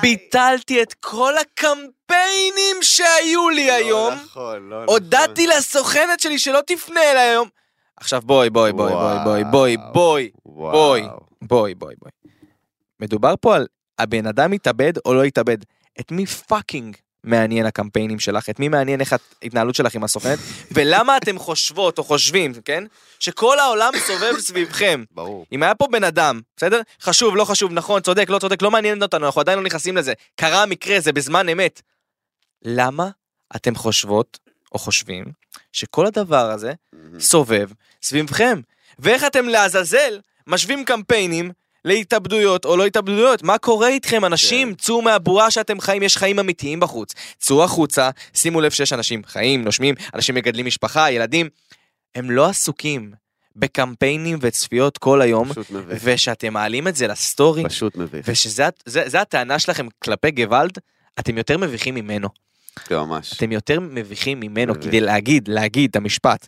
[SPEAKER 3] ביטלתי את כל הקמפיינים שהיו
[SPEAKER 2] לא
[SPEAKER 3] לי היום,
[SPEAKER 2] נכון.
[SPEAKER 3] הודעתי לסוכנת שלי שלא תפנה אליי היום. עכשיו בואי בואי בואי בואי בואי בואי
[SPEAKER 2] וואו.
[SPEAKER 3] בואי בואי. בואי בואי בואי. מדובר פה על הבן אדם התאבד או לא התאבד. את מי פאקינג מעניין הקמפיינים שלך? את מי מעניין איך ההתנהלות שלך עם הסוכנת? ולמה אתם חושבות או חושבים, כן? שכל העולם סובב סביבכם.
[SPEAKER 2] ברור.
[SPEAKER 3] אם היה פה בן אדם, בסדר? חשוב, לא חשוב, נכון, צודק, לא צודק, לא מעניין אותנו, אנחנו עדיין לא נכנסים לזה. קרה המקרה, זה בזמן אמת. למה אתם חושבות, או חושבים, שכל הדבר הזה סובב סביבכם. ואיך אתם לעזאזל משווים קמפיינים להתאבדויות או לא התאבדויות? מה קורה איתכם
[SPEAKER 2] כן.
[SPEAKER 3] אנשים? צאו מהבועה שאתם חיים, יש חיים אמיתיים בחוץ. צאו החוצה, שימו לב שיש אנשים חיים, נושמים, אנשים מגדלים משפחה, ילדים. הם לא עסוקים בקמפיינים וצפיות כל היום,
[SPEAKER 2] פשוט מביך.
[SPEAKER 3] ושאתם מעלים את זה לסטורי,
[SPEAKER 2] פשוט מביך.
[SPEAKER 3] ושזה זה, זה הטענה שלכם כלפי גוואלד, אתם יותר מביכים ממנו.
[SPEAKER 2] זה ממש.
[SPEAKER 3] אתם יותר מביכים ממנו
[SPEAKER 2] מביך.
[SPEAKER 3] כדי להגיד, להגיד את המשפט.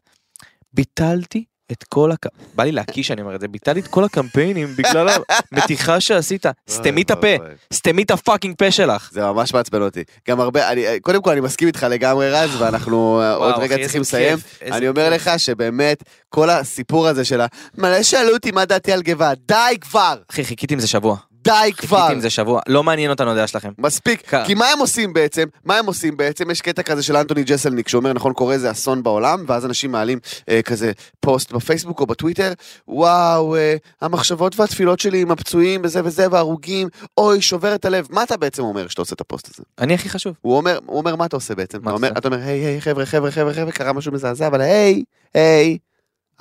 [SPEAKER 3] ביטלתי את כל הק... בא לי להקיש שאני אומר את זה, ביטלתי את כל הקמפיינים בגלל
[SPEAKER 2] <laughs>
[SPEAKER 3] המתיחה שעשית. סתמי את הפה,
[SPEAKER 2] אוי, אוי, אוי.
[SPEAKER 3] סתמי את הפאקינג פה שלך.
[SPEAKER 2] זה ממש מעצבן אותי. גם הרבה, אני- קודם כל אני מסכים איתך לגמרי רז, ואנחנו אה, עוד
[SPEAKER 3] וואו,
[SPEAKER 2] רגע
[SPEAKER 3] אחי,
[SPEAKER 2] צריכים
[SPEAKER 3] איזה
[SPEAKER 2] לסיים.
[SPEAKER 3] כיף, איזה
[SPEAKER 2] אני אומר
[SPEAKER 3] כיף.
[SPEAKER 2] לך שבאמת, כל הסיפור הזה של ה... מלא שאלו אותי מה דעתי על גבעה, די כבר!
[SPEAKER 3] אחי, חיכיתי עם זה שבוע.
[SPEAKER 2] די כבר.
[SPEAKER 3] חיכיתי עם זה כן. שבוע, לא מעניין אותנו הדעה שלכם.
[SPEAKER 2] מספיק,
[SPEAKER 3] ככה.
[SPEAKER 2] כי מה הם עושים בעצם? מה הם עושים בעצם? יש קטע כזה של אנטוני ג'סלניק שאומר, נכון, קורה איזה אסון בעולם, ואז אנשים מעלים אה, כזה פוסט בפייסבוק או בטוויטר, וואו, אה, המחשבות והתפילות שלי עם הפצועים וזה וזה וההרוגים, אוי, שובר את הלב. מה אתה בעצם אומר כשאתה עושה את הפוסט הזה?
[SPEAKER 3] אני הכי חשוב.
[SPEAKER 2] הוא אומר, הוא אומר, מה אתה עושה בעצם?
[SPEAKER 3] מה
[SPEAKER 2] אתה אומר,
[SPEAKER 3] אתה
[SPEAKER 2] אתה אומר, היי, היי, חבר'ה, חבר'ה, חבר'ה, חבר'ה, קרה משהו מזעזע, אבל היי, היי,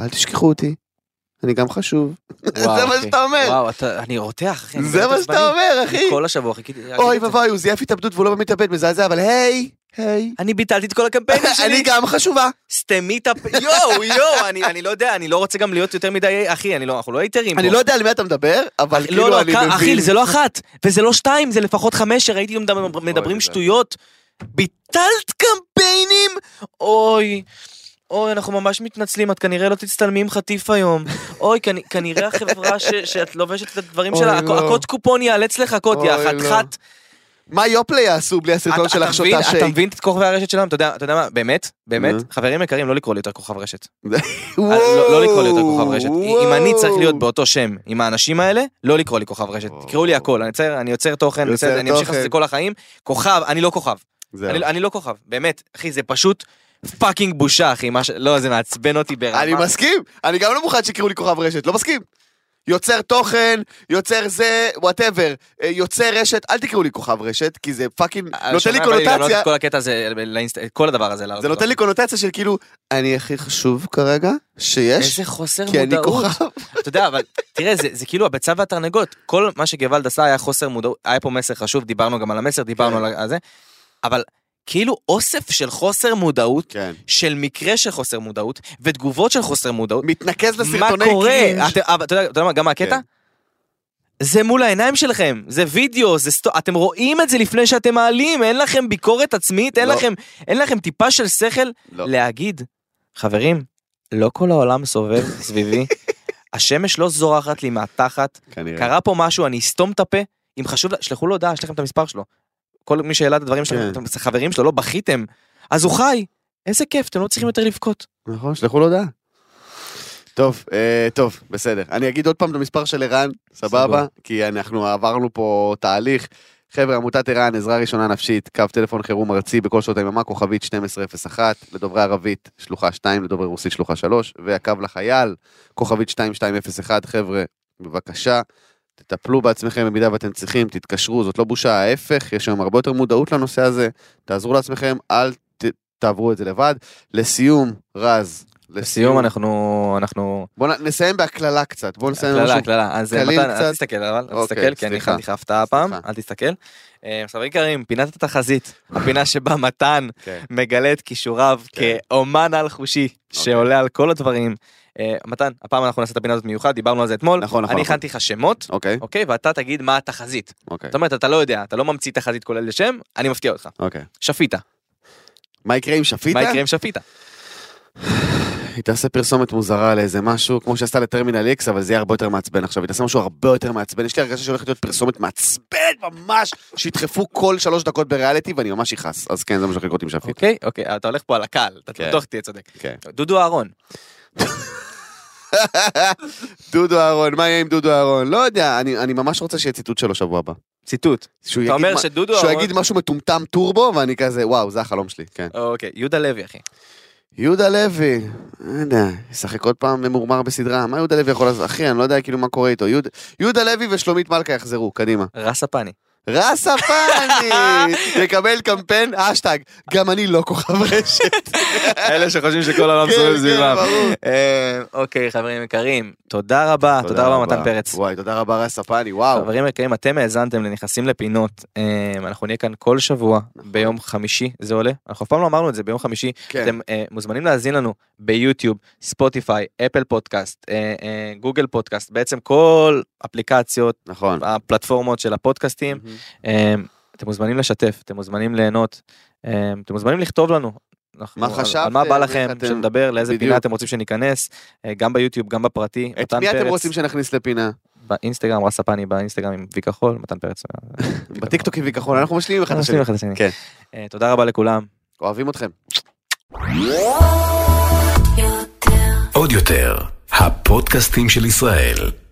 [SPEAKER 2] אל תשכחו אותי, אני גם חשוב. <laughs> זה
[SPEAKER 3] וואו,
[SPEAKER 2] מה
[SPEAKER 3] אחי.
[SPEAKER 2] שאתה אומר,
[SPEAKER 3] וואו, אתה- אני רותח, אחי. אני
[SPEAKER 2] זה
[SPEAKER 3] באמת
[SPEAKER 2] מה שאתה
[SPEAKER 3] עצבני.
[SPEAKER 2] אומר, אחי.
[SPEAKER 3] כל השבוע חיכיתי.
[SPEAKER 2] אוי
[SPEAKER 3] להגיד את זה.
[SPEAKER 2] ואבוי, הוא זייף התאבדות והוא לא באמת התאבד, מזעזע, אבל היי, היי.
[SPEAKER 3] אני ביטלתי את כל
[SPEAKER 2] <laughs>
[SPEAKER 3] הקמפיינים
[SPEAKER 2] אני
[SPEAKER 3] שלי.
[SPEAKER 2] גם חשובה.
[SPEAKER 3] סתמי את הפ... יואו, יואו, אני- אני לא יודע, אני לא רוצה גם להיות יותר מדי, אחי, אני לא- אנחנו לא היתרים פה.
[SPEAKER 2] אני לא יודע על מי אתה מדבר, אבל
[SPEAKER 3] לא,
[SPEAKER 2] כאילו
[SPEAKER 3] לא,
[SPEAKER 2] אני
[SPEAKER 3] כ-
[SPEAKER 2] מבין.
[SPEAKER 3] אחי, זה לא אחת, וזה לא שתיים, זה לפחות חמש, שראיתי מדבר- מדברים
[SPEAKER 2] אוי,
[SPEAKER 3] שטויות. ביטלת קמפיינים? אוי. אוי, אנחנו ממש מתנצלים, את כנראה לא תצטלמי עם חטיף היום. אוי, כנ- כנראה החברה ש- שאת לובשת את הדברים
[SPEAKER 2] אוי,
[SPEAKER 3] שלה,
[SPEAKER 2] לא.
[SPEAKER 3] הק- הקוד קופון ייאלץ לחכות, יא
[SPEAKER 2] אוי, לא.
[SPEAKER 3] חתיכת.
[SPEAKER 2] מה יופלה יעשו בלי הסרטון
[SPEAKER 3] אתה- אתה
[SPEAKER 2] שלך
[SPEAKER 3] מבין-
[SPEAKER 2] שותה
[SPEAKER 3] אתה
[SPEAKER 2] שייק?
[SPEAKER 3] מבין את כוכבי הרשת שלנו? אתה יודע אתה יודע מה, באמת, באמת,
[SPEAKER 2] נו.
[SPEAKER 3] חברים יקרים, לא לקרוא לי יותר כוכב רשת.
[SPEAKER 2] וואו,
[SPEAKER 3] לא לא לקרוא לי יותר כוכב רשת. אם אני צריך להיות
[SPEAKER 2] וואו.
[SPEAKER 3] באותו שם עם האנשים האלה, לא לקרוא לי כוכב רשת.
[SPEAKER 2] וואו.
[SPEAKER 3] תקראו לי הכל, אני יוצר- אני יוצר תוכן, אני
[SPEAKER 2] יוצר
[SPEAKER 3] יוצר- אני אמשיך
[SPEAKER 2] תוכן.
[SPEAKER 3] לעשות את זה כל החיים. כוכב, אני לא כוכב.
[SPEAKER 2] זהו.
[SPEAKER 3] אני- אני לא כוכב, באמת. אחי, זה פשוט פאקינג בושה, אחי. מה ש- לא, זה מעצבן אותי ברמה.
[SPEAKER 2] אני מסכים, אני גם לא מוכן שיקראו לי כוכב רשת, לא מסכים. יוצר תוכן, יוצר זה, וואטאבר, יוצר רשת, אל תקראו לי כוכב רשת, כי זה פאקינג, נותן לי
[SPEAKER 3] אה, שומע, אבל לגנות
[SPEAKER 2] קונוטציה,
[SPEAKER 3] לא את כל הקטע הזה, לאינסט- כל הדבר הזה. לארץ
[SPEAKER 2] זה נותן לי קונוטציה של כאילו, אני הכי חשוב כרגע שיש,
[SPEAKER 3] איזה חוסר
[SPEAKER 2] כי אני
[SPEAKER 3] מודעות.
[SPEAKER 2] כוכב.
[SPEAKER 3] אתה יודע, אבל תראה, זה, זה כאילו הביצה והתרנגולת. כל מה שגוואלד עשה היה חוסר מודעות, היה פה מסר חשוב, דיברנו גם על המסר, דיברנו
[SPEAKER 2] כן.
[SPEAKER 3] על ה- זה, אבל כאילו אוסף של חוסר מודעות,
[SPEAKER 2] כן.
[SPEAKER 3] של מקרה של חוסר מודעות, ותגובות של חוסר מודעות,
[SPEAKER 2] מתנקז
[SPEAKER 3] מה
[SPEAKER 2] לסרטוני
[SPEAKER 3] קורה?
[SPEAKER 2] קרינג'.
[SPEAKER 3] אתה, אבל אתה יודע, אתה יודע מה, גם הקטע?
[SPEAKER 2] כן.
[SPEAKER 3] זה מול העיניים שלכם, זה וידאו, זה סטו... אתם רואים את זה לפני שאתם מעלים, אין לכם ביקורת עצמית, אין,
[SPEAKER 2] לא.
[SPEAKER 3] לכם, אין לכם טיפה של שכל
[SPEAKER 2] לא.
[SPEAKER 3] להגיד, חברים, לא כל העולם סובב <laughs> סביבי, השמש לא זורחת לי מהתחת,
[SPEAKER 2] כנראה.
[SPEAKER 3] קרה פה משהו, אני אסתום את הפה, אם חשוב, לה- שלחו לו הודעה, יש לכם את המספר שלו. כל מי שהעלה את הדברים שלכם,
[SPEAKER 2] כן.
[SPEAKER 3] אתם- זה חברים שלו, לא בכיתם, אז הוא חי, איזה כיף, אתם לא צריכים יותר לבכות.
[SPEAKER 2] נכון, שלחו לו הודעה. טוב, אה, טוב, בסדר. אני אגיד עוד פעם את המספר של ערן, סבבה?
[SPEAKER 3] סבבה.
[SPEAKER 2] כי אנחנו עברנו פה תהליך. חבר'ה, עמותת ערן, עזרה ראשונה נפשית, קו טלפון חירום ארצי בכל שעות היממה, כוכבית 1201, לדוברי ערבית, שלוחה 2, לדוברי רוסית, שלוחה 3, והקו לחייל, כוכבית 2201, חבר'ה, בבקשה, תטפלו בעצמכם במידה ואתם צריכים, תתקשרו, זאת לא בושה, ההפך, יש היום הרבה יותר מודעות לנושא הזה, תעזרו לעצמכם, אל ת, תעברו את זה לבד. לסיום, רז,
[SPEAKER 3] לסיום, אנחנו, אנחנו,
[SPEAKER 2] בואו נסיים בהקללה קצת, בואו נסיים
[SPEAKER 3] הקללה,
[SPEAKER 2] משהו.
[SPEAKER 3] הקללה, אז אה,
[SPEAKER 2] קליל
[SPEAKER 3] מתן,
[SPEAKER 2] קצת.
[SPEAKER 3] אל תסתכל, אבל, אל
[SPEAKER 2] אוקיי,
[SPEAKER 3] תסתכל, כי אני
[SPEAKER 2] סליחה.
[SPEAKER 3] הכנתי לך הפתעה הפעם,
[SPEAKER 2] סליחה.
[SPEAKER 3] אל תסתכל. אה, חברים יקרים, פינת התחזית, הפינה שבה מתן
[SPEAKER 2] כן.
[SPEAKER 3] מגלה את כישוריו
[SPEAKER 2] כן.
[SPEAKER 3] כאומן על חושי שעולה על כל הדברים. אה, מתן, הפעם אנחנו נעשה את הפינה הזאת מיוחד, דיברנו על זה אתמול.
[SPEAKER 2] נכון, נכון,
[SPEAKER 3] אני
[SPEAKER 2] נכון.
[SPEAKER 3] הכנתי לך שמות,
[SPEAKER 2] אוקיי,
[SPEAKER 3] אוקיי? ואתה תגיד מה התחזית.
[SPEAKER 2] אוקיי,
[SPEAKER 3] זאת אומרת, אתה לא יודע, אתה לא ממציא תחזית כולל לשם, אני מפתיע אותך.
[SPEAKER 2] אוקיי.
[SPEAKER 3] שפיטה.
[SPEAKER 2] מה יקרה עם שפיטה?
[SPEAKER 3] מה יקרה עם שפיטה?
[SPEAKER 2] היא תעשה פרסומת מוזרה לאיזה משהו, כמו שעשתה לטרמינל X, אבל זה יהיה הרבה יותר מעצבן עכשיו, היא תעשה משהו הרבה יותר מעצבן, יש לי הרגשה שהולכת להיות פרסומת מעצבנת ממש, שידחפו כל שלוש דקות בריאליטי ואני ממש אכעס, אז כן, זה מה שהולך לקרות עם שפיטה.
[SPEAKER 3] אוקיי, אוקיי, אתה הולך פה על הקל, אתה
[SPEAKER 2] כן.
[SPEAKER 3] בטוח תהיה צודק.
[SPEAKER 2] כן.
[SPEAKER 3] דודו אהרון.
[SPEAKER 2] דודו אהרון, מה יהיה עם דודו אהרון? לא יודע, אני אני ממש רוצה שיהיה ציטוט שלו שבוע הבא.
[SPEAKER 3] ציטוט.
[SPEAKER 2] שהוא
[SPEAKER 3] אתה
[SPEAKER 2] יגיד
[SPEAKER 3] אומר
[SPEAKER 2] מה-
[SPEAKER 3] שדודו
[SPEAKER 2] שהוא
[SPEAKER 3] אהרון...
[SPEAKER 2] יגיד משהו מטומטם טורבו, ואני כזה, וואו, זה החלום שלי, כן.
[SPEAKER 3] אוקיי, יהודה לוי, אחי.
[SPEAKER 2] יהודה לוי, לא יודע, ישחק עוד פעם ממורמר בסדרה, מה יהודה לוי יכול לעשות? אחי, אני לא יודע כאילו מה קורה איתו. יהודה- יהודה לוי ושלומית מלכה יחזרו, קדימה.
[SPEAKER 3] רסה פאני.
[SPEAKER 2] רסה
[SPEAKER 3] <laughs>
[SPEAKER 2] פאני! יקבל קמפיין, אשטג, גם אני לא כוכב רשת.
[SPEAKER 3] <laughs> אלה שחושבים שכל העולם
[SPEAKER 2] כן,
[SPEAKER 3] סובב
[SPEAKER 2] כן,
[SPEAKER 3] סביבם.
[SPEAKER 2] ברור.
[SPEAKER 3] לא אה, אוקיי, חברים יקרים, תודה רבה, תודה רבה מתן פרץ.
[SPEAKER 2] וואי, תודה רבה רסה פאני, וואו.
[SPEAKER 3] חברים יקרים, אתם האזנתם לנכנסים לפינות, אה, אנחנו נהיה כאן כל שבוע ביום חמישי, זה עולה? אנחנו אף פעם לא אמרנו את זה, ביום חמישי.
[SPEAKER 2] נכון. כן,
[SPEAKER 3] אתם אה, מוזמנים להאזין לנו ביוטיוב, ספוטיפיי, אפל פודקאסט, אה, אה, גוגל פודקאסט, בעצם כל אפליקציות,
[SPEAKER 2] נכון.
[SPEAKER 3] הפלטפורמות של הפודקאסטים. אה, אתם מוזמנים לשתף, אתם מוזמנים ליהנות, אה, אתם מוזמנים לכתוב לנו. אנחנו-
[SPEAKER 2] מה
[SPEAKER 3] על- על
[SPEAKER 2] חשבתם?
[SPEAKER 3] מה בא
[SPEAKER 2] איך
[SPEAKER 3] לכם,
[SPEAKER 2] אתם-
[SPEAKER 3] שנדבר, לאיזה
[SPEAKER 2] בדיוק.
[SPEAKER 3] פינה אתם רוצים שניכנס, אה, גם ביוטיוב, גם בפרטי.
[SPEAKER 2] את
[SPEAKER 3] מתן
[SPEAKER 2] מי אתם
[SPEAKER 3] פרץ
[SPEAKER 2] רוצים שנכניס לפינה?
[SPEAKER 3] באינסטגרם, רס הפאני באינסטגרם עם וי כחול, מתן פרץ.
[SPEAKER 2] בטיקטוק עם וכחול, אנחנו משלימים אחד את
[SPEAKER 3] אנחנו
[SPEAKER 2] השני.
[SPEAKER 3] אחד את השני.
[SPEAKER 2] כן.
[SPEAKER 3] אה, תודה רבה לכולם.
[SPEAKER 2] אוהבים אתכם.
[SPEAKER 1] עוד יותר, הפודקאסטים של ישראל.